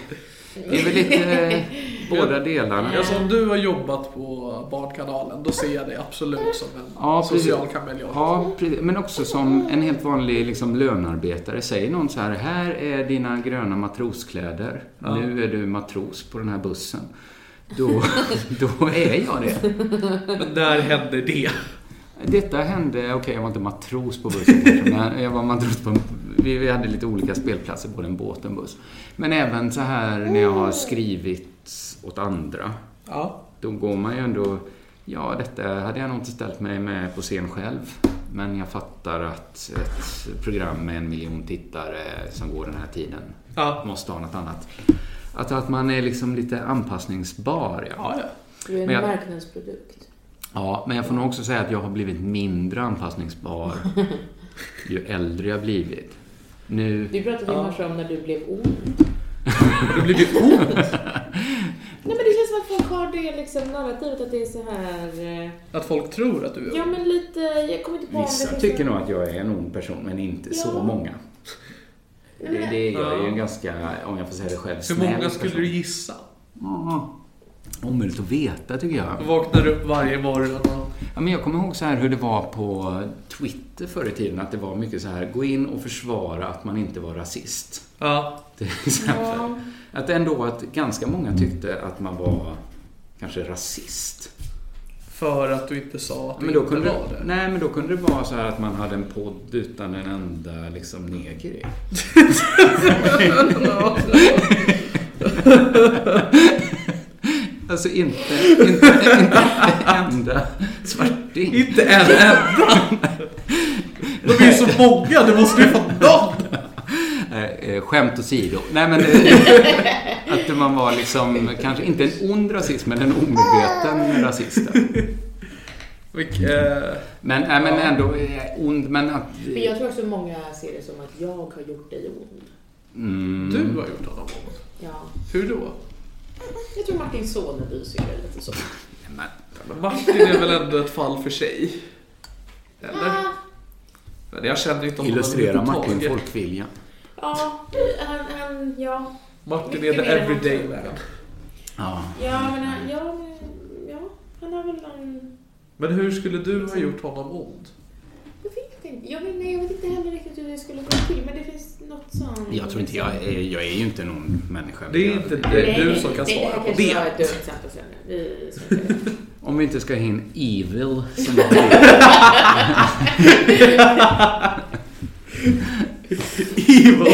Speaker 5: det är väl lite eh, båda delarna.
Speaker 4: Alltså om du har jobbat på Barnkanalen, då ser jag dig absolut som en
Speaker 5: Ja, precis.
Speaker 4: social kameleont.
Speaker 5: Ja, precis. men också som en helt vanlig liksom, lönarbetare. Säger någon så här, här är dina gröna matroskläder.
Speaker 4: Ja.
Speaker 5: Nu är du matros på den här bussen. Då, då är jag det.
Speaker 4: Men när hände det?
Speaker 5: Detta hände, okej jag var inte matros på bussen kanske, men jag var matros på, vi vi hade lite olika spelplatser, både en båt och en buss. Men även så här när jag har skrivit åt andra.
Speaker 4: Ja,
Speaker 5: Då går man ju ändå... Ja, detta hade jag nog inte ställt mig med på scen själv. Men jag fattar att ett program med en miljon tittare som går den här tiden
Speaker 4: ja,
Speaker 5: måste ha något annat. Att, att man är liksom lite anpassningsbar.
Speaker 4: ja. ja.
Speaker 7: Du är en
Speaker 5: Men jag-
Speaker 7: marknadsprodukt.
Speaker 5: Ja, men jag får nog också säga att jag har blivit mindre anpassningsbar ju äldre jag blivit. Nu...
Speaker 7: Du pratade ju i morse om när du blev ond.
Speaker 4: Du blir ju ond.
Speaker 7: Nej men det känns som att folk har det liksom narrativet att det är så här... eh,
Speaker 4: Att folk tror att du är
Speaker 7: Ja men lite, jag kommer inte på om det
Speaker 5: Vissa
Speaker 7: finns
Speaker 5: tycker
Speaker 7: en-
Speaker 5: nog att jag är en ond person, men inte
Speaker 7: Ja.
Speaker 5: så många.
Speaker 7: Nej,
Speaker 5: Det,
Speaker 7: men-
Speaker 5: det, jag är ju
Speaker 4: Ja.
Speaker 5: en ganska, om jag får säga det själv,
Speaker 4: Hur
Speaker 5: snäll
Speaker 4: många skulle
Speaker 5: person.
Speaker 4: du gissa?
Speaker 5: Ja, Omöjligt att veta tycker
Speaker 4: Du
Speaker 5: jag.
Speaker 4: vaknar upp varje morgon och...
Speaker 5: Ja, men jag kommer ihåg så här hur det var på Twitter förr i tiden. Att det var mycket så här, gå in och försvara att man inte var rasist.
Speaker 4: Ja,
Speaker 5: Till exempel.
Speaker 7: Ja.
Speaker 5: Att ändå att ganska många tyckte att man var kanske rasist.
Speaker 4: för att du inte sa att du
Speaker 5: Men då,
Speaker 4: inte
Speaker 5: kunde
Speaker 4: var
Speaker 5: det,
Speaker 4: det.
Speaker 5: nej, men då kunde det vara så här att man hade en podd utan en enda liksom, neger i. Alltså inte, inte, inte en enda svarting.
Speaker 4: Inte en enda! De är ju så många, du måste ju få någon!
Speaker 5: Eh, eh, skämt åsido. Nej men... eh, att man var liksom, kanske inte en ond rasist, men en omedveten rasist.
Speaker 4: Vilk- eh,
Speaker 5: Men, nej, men ändå eh, ond, men att...
Speaker 7: Men jag tror också många ser det som att jag har gjort dig ond.
Speaker 5: Mm,
Speaker 4: Du har gjort honom ond.
Speaker 7: Ja.
Speaker 4: Hur då?
Speaker 7: Jag tror Martin Soneby ser det lite så.
Speaker 5: men,
Speaker 4: Martin är väl ändå ett fall för sig? Eller?
Speaker 7: Ah,
Speaker 4: Men jag känner inte honom
Speaker 5: illustrera Martin
Speaker 4: överhuvudtaget.
Speaker 5: folkvilja.
Speaker 7: ja, han, han, ja.
Speaker 4: Martin är
Speaker 7: Mycket
Speaker 4: the
Speaker 7: mer än
Speaker 4: everyday
Speaker 7: han
Speaker 4: man.
Speaker 5: Ja.
Speaker 7: Ja, men han, ja, men, ja, han har väl någon...
Speaker 4: Men hur skulle du ha gjort honom ond?
Speaker 7: Jag vet inte, jag vet, nej, jag vet inte heller riktigt hur det skulle gå till, men det finns något sånt.
Speaker 5: Jag tror inte jag är, jag är ju inte en ond människa.
Speaker 4: Det är inte det är du som kan svara på
Speaker 7: Det här kanske var ett dumt
Speaker 4: det.
Speaker 7: exempel sen. Vi ska inte göra det.
Speaker 5: Om vi inte ska ha in evil som var
Speaker 4: Evil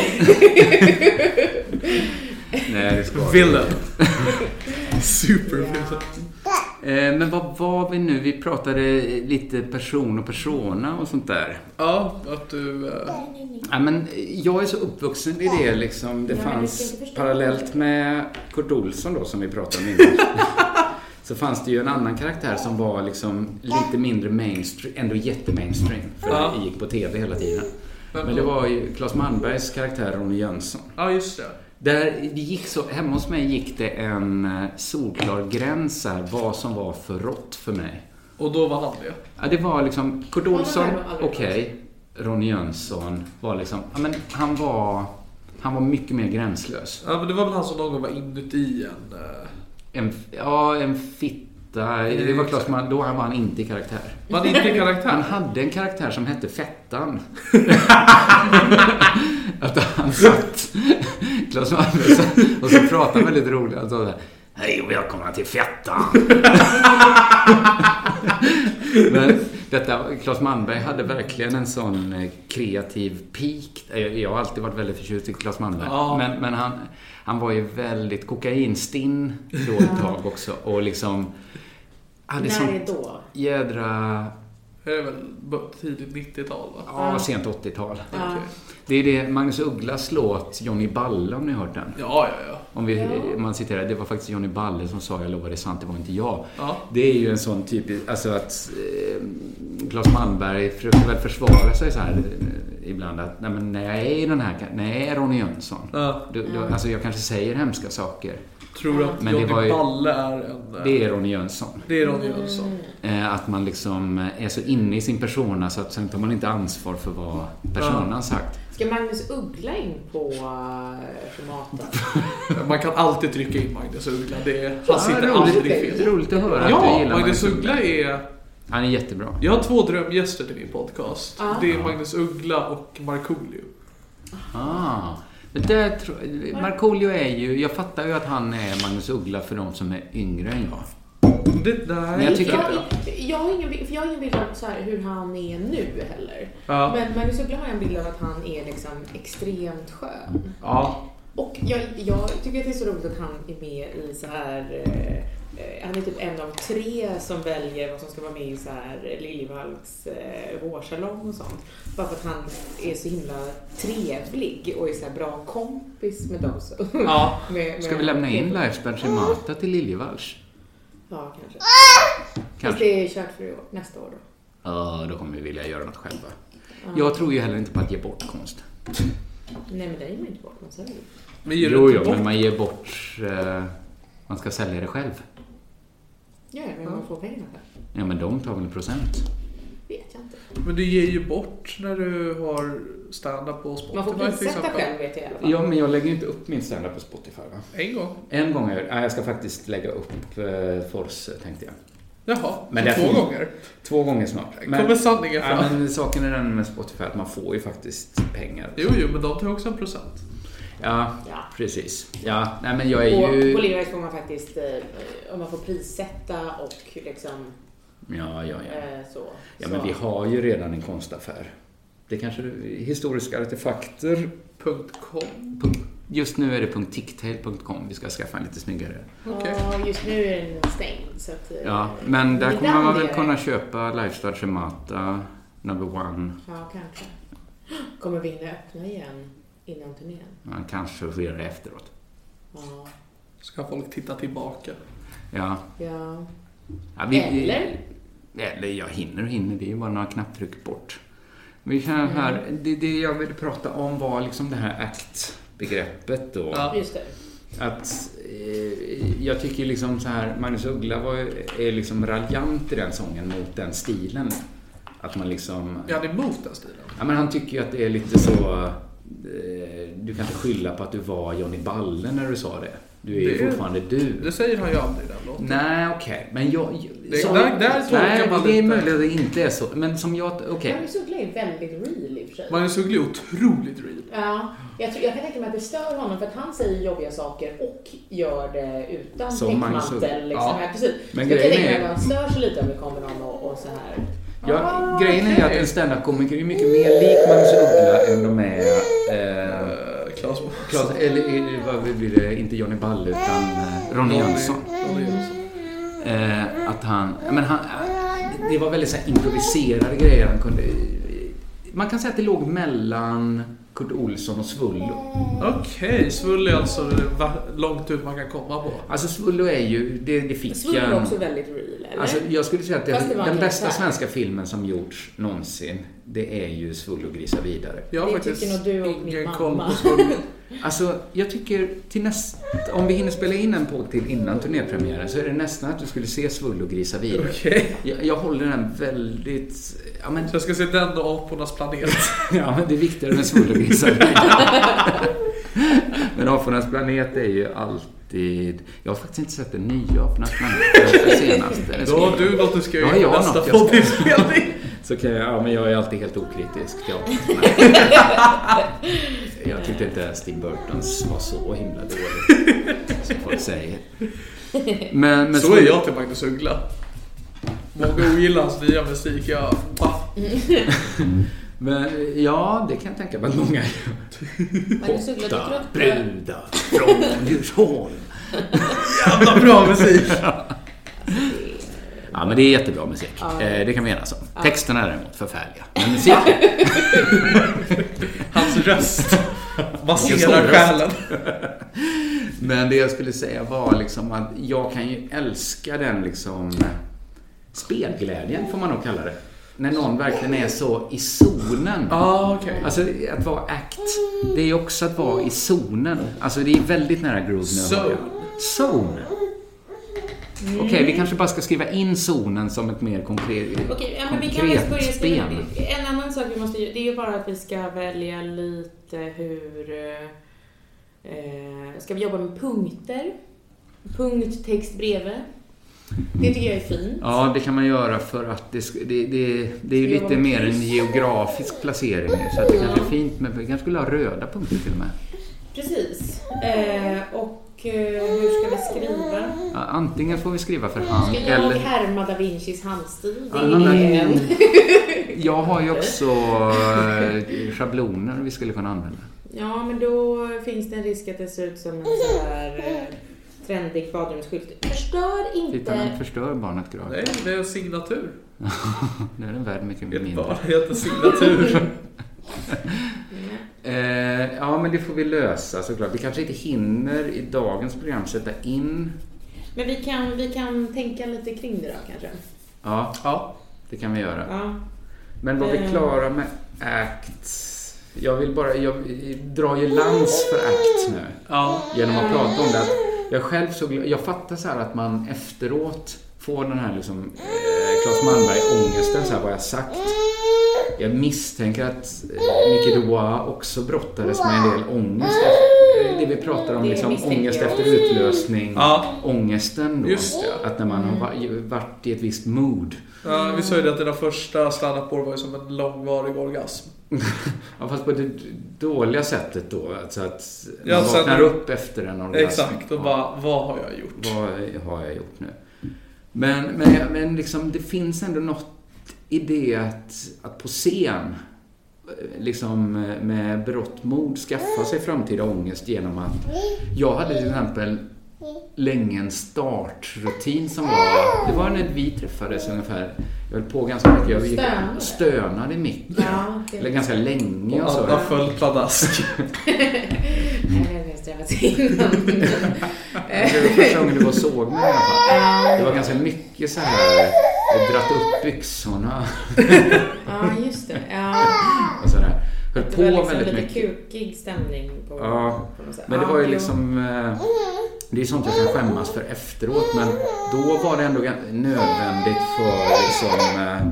Speaker 5: Nej, det ska vi inte.
Speaker 4: villain. Super villain.
Speaker 5: Eh, Men vad var vi nu? Vi pratade lite person och persona och sånt där.
Speaker 4: Ja, att du... eh,
Speaker 5: Ja, men jag är så uppvuxen i det liksom. Det
Speaker 7: Ja, men du ska
Speaker 5: fanns
Speaker 7: inte förstå.
Speaker 5: parallellt med Kurt Olsson då som vi pratade om innan. så fanns det ju en annan karaktär som var liksom lite mindre mainstream, ändå jättemainstream. För
Speaker 4: Ja.
Speaker 5: det gick på TV hela tiden.
Speaker 4: Vem
Speaker 5: Men det
Speaker 4: då?
Speaker 5: var ju Claes Malmbergs karaktär Ronny Jönsson.
Speaker 4: Ja, just det.
Speaker 5: Där det gick så, hemma hos mig gick det en eh, solklar gräns här, vad som var för rått för mig.
Speaker 4: Och då var han det.
Speaker 5: Ja, det var liksom Kurt
Speaker 7: men
Speaker 5: Olsson,
Speaker 7: det var aldrig
Speaker 5: okej. Ronny Jönsson var liksom, ja men han var, han var mycket mer gränslös.
Speaker 4: Ja, men det var väl han som någon gång var inuti en... eh,
Speaker 5: En, ja, en fitta. Det var klart, man, då var han inte i karaktär.
Speaker 4: Var det inte
Speaker 5: Han
Speaker 4: karaktär?
Speaker 5: hade en karaktär som hette Fettan. att han satt, Claes Malmberg satt och så pratade han väldigt roligt. Han sa så här, Hej och välkomna till Fettan. Men detta, Claes Malmberg hade verkligen en sån eh, kreativ peak. Jag- Jag har alltid varit väldigt förtjust i Claes Malmberg.
Speaker 4: Ja.
Speaker 5: Men, men han, han var ju väldigt kokainstinn då ett tag också. Och liksom... Hade
Speaker 7: När
Speaker 5: sånt
Speaker 7: då?
Speaker 5: jädra
Speaker 4: Det är väl b- tidigt 90-tal, va?
Speaker 5: Ja, sent 80-tal.
Speaker 7: Ja.
Speaker 4: Okej.
Speaker 5: Det är det Magnus Ugglas låt Johnny Balle, om ni har hört den.
Speaker 4: Ja, ja, ja.
Speaker 5: Om vi, man citerar, det var faktiskt Johnny Balle som sa jag lovar det är sant, det var inte jag.
Speaker 4: Ja.
Speaker 5: Det är ju en sån typ, typisk, alltså att eh, Claes Malmberg försöker väl försvara sig så här eh, ibland att nej, men när jag är i den här, ka- när jag är Ronny Jönsson,
Speaker 4: Ja,
Speaker 5: då, då, alltså jag kanske säger hemska saker.
Speaker 4: tror att
Speaker 5: Men det
Speaker 4: Johnny
Speaker 5: var ju-
Speaker 4: Balle är en... eh,
Speaker 5: Det är Ronny Jönsson.
Speaker 4: det är Ronny Olsson.
Speaker 5: Eh, att man liksom eh, är så inne i sin persona så att sen tar man inte ansvar för vad personen har sagt.
Speaker 6: Ska Magnus Uggla in på eh, Schemata?
Speaker 4: Man kan alltid trycka in Magnus Uggla. Det är, han
Speaker 5: Ja,
Speaker 4: sitter
Speaker 5: roligt,
Speaker 4: aldrig fel.
Speaker 5: Roligt att höra att du
Speaker 4: Ja,
Speaker 5: gillar
Speaker 4: Magnus
Speaker 5: Uggla.
Speaker 4: Uggla är...
Speaker 5: Han är jättebra.
Speaker 4: Jag har två drömgäster till min podcast.
Speaker 6: Ja.
Speaker 4: Det är Magnus Uggla och Markoolio.
Speaker 5: Ah, men där tror- Markoolio är ju... Jag fattar ju att han är Magnus Uggla för de som är yngre än jag.
Speaker 4: Det där
Speaker 5: Men jag tycker-
Speaker 6: jag, jag har ingen, för jag har ingen bild av så här hur han är nu heller.
Speaker 4: Ja.
Speaker 6: Men Magnus Uggla har jag en bild av att han är liksom extremt skön.
Speaker 4: Ja.
Speaker 6: Och jag, jag tycker att det är så roligt att han är med i så här... eh, eh, Han är typ en av tre som väljer vad som ska vara med i så här Liljevalchs eh, vårsalong och sånt. Bara för att han är så himla trevlig och är så här bra kompis med dem. som-
Speaker 4: ja.
Speaker 6: med- med-
Speaker 5: Ska vi lämna in Lifespan Shemata till Liljevalchs?
Speaker 6: Ja, kanske. Fast
Speaker 5: Kanske.
Speaker 6: det är kört för i år, nästa år då.
Speaker 5: Ja, då kommer vi vilja göra något själva. Jag tror ju heller inte på att ge bort konst.
Speaker 6: Nej, men det är ju inte bort. Man säger ju.
Speaker 4: Men ger
Speaker 5: Jo,
Speaker 4: du
Speaker 5: jo,
Speaker 4: inte
Speaker 5: men
Speaker 4: bort?
Speaker 5: man ger bort... Eh, man ska sälja det själv.
Speaker 6: Ja, men man får pengarna själv.
Speaker 5: Ja, men de tar väl en procent?
Speaker 6: Vet jag inte.
Speaker 4: Men du ger ju bort när du har stand-up på Spotify
Speaker 6: Man får
Speaker 4: till
Speaker 6: prissätta
Speaker 4: exempel.
Speaker 6: själv vet jag i alla fall.
Speaker 5: Ja, men jag lägger ju inte upp min standup på Spotify, va?
Speaker 4: En gång.
Speaker 5: En gång har jag Nej, jag ska faktiskt lägga upp eh, Fors, tänkte jag.
Speaker 4: Jaha,
Speaker 5: Men
Speaker 4: två
Speaker 5: det finns-
Speaker 4: gånger.
Speaker 5: Två gånger snart.
Speaker 4: Kommer sanningen fram?
Speaker 5: ja, men saken är den med Spotify att man får ju faktiskt pengar.
Speaker 4: Jo, jo, men de tar också en procent.
Speaker 5: Ja,
Speaker 6: Ja.
Speaker 5: precis. Ja, nej men jag är
Speaker 6: Och på
Speaker 5: ju...
Speaker 6: Levi's får man faktiskt, eh, om man får prissätta och liksom
Speaker 5: Ja, ja, ja.
Speaker 6: eh, så.
Speaker 5: Ja,
Speaker 6: så.
Speaker 5: men vi har ju redan en konstaffär. Det kanske är historiska artefakter.
Speaker 4: Punkt .com.
Speaker 5: Punkt- Just nu är det .ticktail.com. Vi ska skaffa en lite snyggare.
Speaker 4: Okej.
Speaker 6: Ja, just nu är den stängd. Så att, eh,
Speaker 5: Ja, men där
Speaker 6: det
Speaker 5: kommer man
Speaker 6: är
Speaker 5: väl
Speaker 6: det.
Speaker 5: kunna köpa Lifestyle Shemata, Number One.
Speaker 6: Ja, kanske. Kommer vi hinna öppna igen innan turnén?
Speaker 5: Man kanske får göra det efteråt.
Speaker 6: Ja.
Speaker 4: Ska folk titta tillbaka.
Speaker 5: Ja.
Speaker 6: ja.
Speaker 5: ja vi,
Speaker 6: Eller?
Speaker 5: Eller jag hinner och hinner. Det är ju bara några knapptryck bort. Vi kan här, det, det jag ville prata om var liksom det här ACT-begreppet då.
Speaker 4: Ja.
Speaker 6: Just det.
Speaker 5: att eh, jag tycker liksom så här, Magnus Uggla var, ju- är liksom raljant i den sången mot den stilen. Att man liksom...
Speaker 4: Är han emot den stilen?
Speaker 5: Ja, men han tycker ju att det är lite så... Eh, du kan inte skylla på att du var Johnny Balle när du sa det. Du är ju
Speaker 4: Det är-
Speaker 5: fortfarande du.
Speaker 4: Det säger han ju aldrig i den låten.
Speaker 5: Nej, okej. Men jag...
Speaker 4: Det- där- där tolkar
Speaker 5: nej,
Speaker 4: man
Speaker 5: det är
Speaker 4: lite.
Speaker 5: möjligt att det inte är så. Men som jag... Okej.
Speaker 6: Magnus Uggla är väldigt real i och för sig.
Speaker 4: Magnus Uggla är otroligt real.
Speaker 6: Ja, jag, tror, jag kan tänka mig att det stör honom för att han säger jobbiga saker och gör det utan
Speaker 5: Som Magnus Uggla.
Speaker 6: täckmantel. Liksom.
Speaker 5: Ja.
Speaker 6: Ja. precis.
Speaker 5: Men
Speaker 6: Men jag kan
Speaker 5: grejen
Speaker 6: tänka mig
Speaker 5: är-
Speaker 6: att han stör sig lite om det kommer någon och, och så här.
Speaker 5: Ja, grejen är att en standup-komiker är mycket mer lik Magnus Uggla än de är... Eh,
Speaker 4: Eh, Claes
Speaker 5: Claes, eller eh, vad blir det? Inte Johnny Balle utan eh, Ronny Jönsson.
Speaker 4: Ronny Jönsson.
Speaker 5: Eh, att han, ja, men han, eh, det var väldigt så här improviserade grejer han kunde... Man kan säga att det låg mellan Kurt Olsson och Svullo.
Speaker 4: Okej, Svull är alltså det va- långt ut man kan komma på.
Speaker 5: Alltså Svullo är ju, det, det fick
Speaker 6: Svullo
Speaker 5: jag...
Speaker 6: är också väldigt real, eller?
Speaker 5: Alltså, jag skulle säga att det,
Speaker 6: Fast det var
Speaker 5: den
Speaker 6: en
Speaker 5: bästa
Speaker 6: karaktär.
Speaker 5: svenska filmen som gjorts någonsin, det är ju Svullo grisar vidare.
Speaker 4: Jag har
Speaker 6: Det
Speaker 4: faktiskt
Speaker 6: tycker nog du och min
Speaker 4: ingen
Speaker 6: mamma.
Speaker 4: koll på Svull.
Speaker 5: Alltså, jag tycker till nästa... Om vi hinner spela in en podd till innan turnépremiären så är det nästan att du skulle se Svullo grisa vidare.
Speaker 4: Okej.
Speaker 5: Jag, jag håller den väldigt... Ja men,
Speaker 4: Så jag ska se den och Apornas planet.
Speaker 5: ja, men det är viktigare med Svullo grisa vidare. men Apornas planet är ju alltid... Jag har faktiskt inte sett den nya Apornas planet. Den senaste. Den
Speaker 4: Då har
Speaker 5: skulle-
Speaker 4: du något du ska
Speaker 5: Ja,
Speaker 4: göra
Speaker 5: jag
Speaker 4: ja,
Speaker 5: har
Speaker 4: nästa
Speaker 5: något jag ska-
Speaker 4: poddinspelning.
Speaker 5: Så kan jag... Ja, men jag är alltid helt okritisk. till Apornas planet. Jag tyckte inte ens Tim Burtons var så himla dålig. Som folk säger. Men, men
Speaker 4: Så är jag till Magnus Uggla. Många ogillar hans nya musik. Jag va?
Speaker 5: Men ja, det kan jag tänka mig att många gör.
Speaker 6: Magnus Uggla dyker upp.
Speaker 5: brudar från Djursholm.
Speaker 4: Jävla bra musik.
Speaker 5: Ja, men det är jättebra musik. Eh, det kan vi enas om. Texterna är däremot förfärliga. Men musiken...
Speaker 4: Hans röst
Speaker 5: Just det,
Speaker 4: masserar
Speaker 5: röst.
Speaker 4: själen.
Speaker 5: men det jag skulle säga var liksom att jag kan ju älska den liksom... Spelglädjen eh, får man nog kalla det. när någon verkligen är så i zonen.
Speaker 4: ah, okej.
Speaker 5: Alltså att vara act, det är också att vara i zonen. Alltså det är väldigt nära groove nu. hör jag. Zone. Okej, vi kanske bara ska skriva in zonen som ett mer konkret,
Speaker 6: Okej, ja, men vi kan väl börja
Speaker 5: konkret
Speaker 6: skriva.
Speaker 5: spel.
Speaker 6: En annan sak vi måste göra, det är ju bara att vi ska välja lite hur... eh, Eh, ska vi jobba med punkter? Punkttext bredvid? Det tycker jag är fint.
Speaker 5: Ja, det kan man göra för att det, sk- det, det, det är ju
Speaker 6: Ska jag
Speaker 5: lite
Speaker 6: vara
Speaker 5: mer en
Speaker 6: tyst?
Speaker 5: geografisk placering. Så att det kanske är fint med, vi kanske skulle ha röda punkter till och med.
Speaker 6: Precis. Eh, och eh, hur ska vi skriva?
Speaker 5: Ja, antingen får vi skriva för hand
Speaker 6: Ska jag
Speaker 5: eller...
Speaker 6: härma da Vincis handstil? Det
Speaker 5: Ja, men-
Speaker 6: är ju en.
Speaker 5: Jag har ju också eh, schabloner vi skulle kunna använda.
Speaker 6: Ja, men då finns det en risk att det ser ut som en sån här eh, trendig badrumsskylt. Förstör
Speaker 5: Titta,
Speaker 6: inte!
Speaker 5: den förstör barnet
Speaker 4: Nej,
Speaker 5: gravt.
Speaker 4: det är en signatur.
Speaker 5: Nu är den värd mycket
Speaker 4: Ett
Speaker 5: mindre.
Speaker 4: barn heter signatur.
Speaker 5: Eh, ja, men det får vi lösa såklart. Vi kanske inte hinner i dagens program sätta in...
Speaker 6: Men vi kan, vi kan tänka lite kring det då kanske.
Speaker 5: Ja,
Speaker 4: ja.
Speaker 5: det kan vi göra.
Speaker 6: Ja.
Speaker 5: Men var vi
Speaker 6: Eh.
Speaker 5: klara med acts? Jag vill bara... Jag drar ju lans för acts nu.
Speaker 4: ja.
Speaker 5: Genom att prata om det. Att jag själv så... gl- Jag fattar så här att man efteråt får den här liksom... Eh, Claes Malmberg-ångesten, så här vad jag sagt. Jag misstänker att eh, Micke Doa också brottades med en del ångest. efter- eh, Det vi pratar om,
Speaker 6: Det
Speaker 5: liksom
Speaker 6: misstänker
Speaker 5: ångest
Speaker 6: jag.
Speaker 5: efter utlösning.
Speaker 4: Ja.
Speaker 5: Ångesten då.
Speaker 4: Just det.
Speaker 5: Att när man har va- varit i ett visst mood.
Speaker 4: ja. Vi sa ju det att dina första standup-år var ju som en långvarig orgasm.
Speaker 5: Ja, fast på det dåliga sättet då. Alltså att man
Speaker 4: Ja, så att-
Speaker 5: vaknar upp efter en orgasm.
Speaker 4: Exakt, och
Speaker 5: Ja,
Speaker 4: bara vad har jag gjort?
Speaker 5: Vad har jag gjort nu? Men, men, men liksom, det finns ändå något i det att, att på scen eh, liksom eh, med berått mod skaffa sig framtida ångest genom att jag hade till exempel länge en startrutin som var, det var när vi träffades ungefär, jag höll på ganska mycket, jag gick-
Speaker 6: Stönade.
Speaker 5: stönade i micken.
Speaker 6: Ja, det-
Speaker 5: Eller ganska länge och så.
Speaker 4: Anna föll pladask.
Speaker 6: Nej, det har jag strävat innan.
Speaker 5: Det var första gången du var och såg mig i alla fall. Det var ganska mycket så här, jag dratt upp byxorna
Speaker 6: Ja, just det. Ja.
Speaker 5: och sådär. Höll
Speaker 6: Det
Speaker 5: på
Speaker 6: var liksom
Speaker 5: väldigt
Speaker 6: lite
Speaker 5: mycket.
Speaker 6: kukig stämning på,
Speaker 5: Ja,
Speaker 6: på något sätt.
Speaker 5: Men det var ju
Speaker 6: jo.
Speaker 5: liksom, eh, det är sånt jag kan skämmas för efteråt men då var det ändå gan- nödvändigt för liksom eh,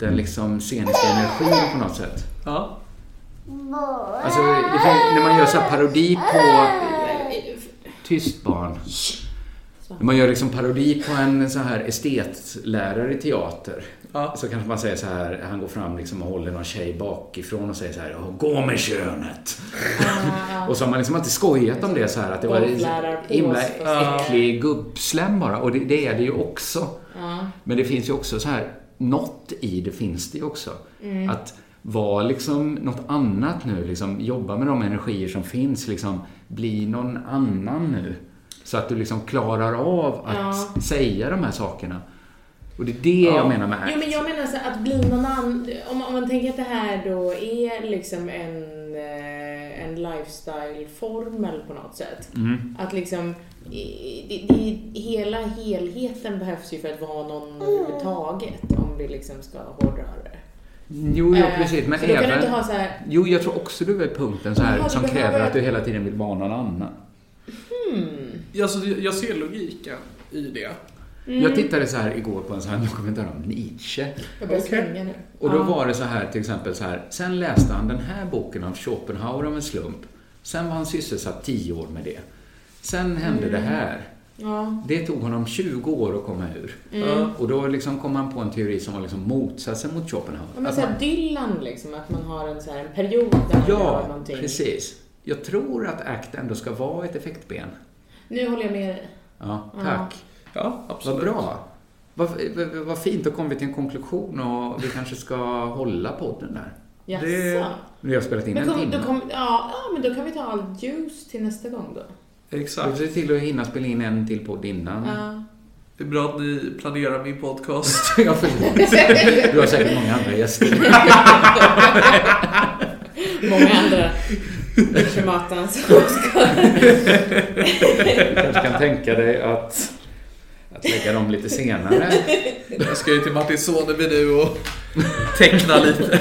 Speaker 5: den liksom sceniska energin på något sätt.
Speaker 4: Ja.
Speaker 5: Alltså det fin- när man gör så här parodi på Tyst barn. När man gör liksom parodi på en så här estetlärare i teater
Speaker 4: Ja.
Speaker 5: så kanske man säger så här, han går fram liksom och håller någon tjej bakifrån och säger så här, "Åh, gå med könet. och så har man liksom alltid skojat om det så här att det var
Speaker 6: Golflärar på
Speaker 5: himla
Speaker 6: oss, fast-
Speaker 5: äcklig gubbslem bara och det, det är det ju också.
Speaker 6: Ja.
Speaker 5: Men det finns ju också så här, något i det finns det ju också.
Speaker 6: Mm.
Speaker 5: Att vara liksom något annat nu, liksom, jobba med de energier som finns, liksom, bli någon annan nu. Så att du liksom klarar av att säga de här sakerna. Och det är det jag menar med
Speaker 6: Jo, men jag menar så att bli någon annan. Om, om man tänker att det här då är liksom en, eh, en lifestyle-formel på något sätt.
Speaker 5: Mm.
Speaker 6: Att liksom, i- det, det, hela helheten behövs ju för att vara någon överhuvudtaget om vi liksom ska hårdra det.
Speaker 5: Jo, ja,
Speaker 6: Eh,
Speaker 5: precis. Men
Speaker 6: så då kan du
Speaker 5: även...
Speaker 6: inte ha så här,
Speaker 5: Jo, jag tror också du är punkten så här,
Speaker 6: Jaha, du
Speaker 5: som
Speaker 6: behöver-
Speaker 5: kräver att du hela tiden vill vara någon annan.
Speaker 4: Alltså, jag ser logiken i det.
Speaker 5: Jag tittade så här igår på en sån här dokumentär om Nietzsche.
Speaker 6: Mm. jag börjar
Speaker 4: Okej.
Speaker 6: svänga nu.
Speaker 5: Och då
Speaker 6: Ja.
Speaker 5: var det så här till exempel så här. Sen läste han den här boken av Schopenhauer av en slump. Sen var han sysselsatt 10 år med det. Sen hände
Speaker 6: Mm.
Speaker 5: det här.
Speaker 6: Ja.
Speaker 5: Det tog honom 20 år att komma ur.
Speaker 6: Mm.
Speaker 4: Ja.
Speaker 5: Och då liksom kom han på en teori som var liksom motsatsen mot Schopenhauer. Alltså,
Speaker 6: Ja, men
Speaker 5: Att
Speaker 6: så
Speaker 5: man-
Speaker 6: här Dylan liksom, att man har en, så här, en period där man gör
Speaker 5: ja
Speaker 6: någonting.
Speaker 5: precis. Jag tror att ACT ändå ska vara ett effektben.
Speaker 6: Nu håller jag med dig.
Speaker 5: Ja, tack.
Speaker 4: Ja,
Speaker 5: Vad
Speaker 4: absolut.
Speaker 5: bra. Vad, vad, vad fint, då kom vi till en konklusion och vi kanske ska hålla podden där.
Speaker 6: Jaså?
Speaker 4: Det-
Speaker 5: Vi har spelat in
Speaker 6: Men
Speaker 5: en
Speaker 6: kom, då
Speaker 5: timme.
Speaker 6: kom, ja, ja, men då kan vi ta all juice till nästa gång då.
Speaker 5: Vi
Speaker 4: Exakt.
Speaker 5: ser till att hinna spela in en till podd innan.
Speaker 6: Ja.
Speaker 4: Det är bra att ni planerar min podcast.
Speaker 5: Jag förlåt. Du har säkert många andra gäster.
Speaker 6: Många andra Matan som ska...
Speaker 5: Du kanske kan tänka dig att att lägga dem lite senare.
Speaker 4: Jag ska ju till Martin Soneby nu och teckna lite.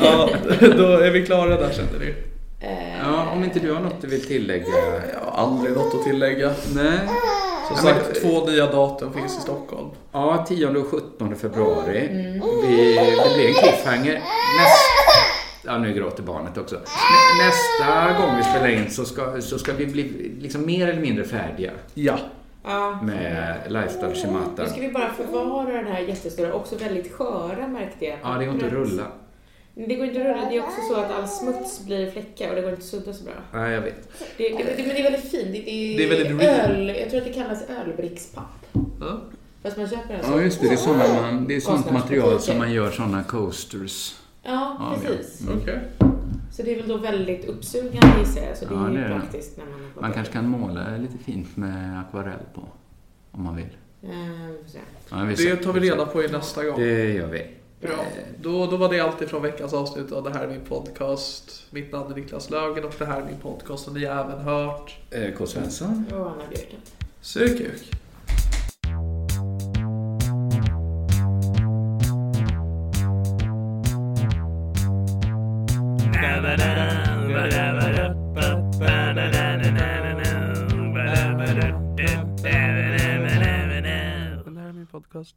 Speaker 4: Ja, då är vi klara där känner ni.
Speaker 7: Eh,
Speaker 5: Ja, om inte du har något du vill tillägga?
Speaker 4: Jag har aldrig något att tillägga.
Speaker 5: Nej.
Speaker 4: Som
Speaker 5: Ja, men-
Speaker 4: sagt, två nya datum finns i Stockholm.
Speaker 5: Ja, 10 och 17 februari.
Speaker 4: Mm.
Speaker 5: Vi, det blir en cliffhanger. Nästa, ja, nu gråter barnet också. Nä- Nästa gång vi spelar in så ska, så ska vi bli liksom mer eller mindre färdiga
Speaker 4: Ja.
Speaker 7: ja.
Speaker 5: med Lifestyle Shimata.
Speaker 7: Nu ska vi bara förvara den här jättestora, också väldigt sköra märkte jag.
Speaker 5: Ja, det går inte att rulla.
Speaker 7: Men Det går inte att rulla, det är också så att all smuts blir fläckar och det går inte att sudda så bra.
Speaker 5: Ja, jag vet.
Speaker 7: Det, det, det, men det är väldigt fint. Det, det,
Speaker 4: Det är väldigt real.
Speaker 7: öl, Jag tror att det kallas ölbrickspapp.
Speaker 4: Ja.
Speaker 7: Fast man köper den så.
Speaker 5: Ja, just det. Det är, såna man, det är sånt material som
Speaker 7: Konstnärsbutiker.
Speaker 5: man gör såna coasters.
Speaker 7: Ja,
Speaker 5: Ja,
Speaker 7: precis.
Speaker 4: Okej.
Speaker 7: Så det är väl då väldigt uppsugande gissar jag. Så det
Speaker 5: Ja,
Speaker 7: är ju
Speaker 5: det är det.
Speaker 7: praktiskt när man har
Speaker 5: Man kanske kan måla lite fint med akvarell på, om man vill.
Speaker 7: Eh, vi får se.
Speaker 5: Ja, vi
Speaker 4: Det tar vi reda på i nästa gång.
Speaker 5: Det gör vi.
Speaker 4: Bra. Då, då var det allt ifrån veckans avsnitt av Det här är min podcast. Mitt namn är Niklas Löfgren och det här är min podcast och ni har även hört
Speaker 5: Eh, K. Svensson.
Speaker 7: Och Anna Björken.
Speaker 4: Sukuk. Det här är min podcast.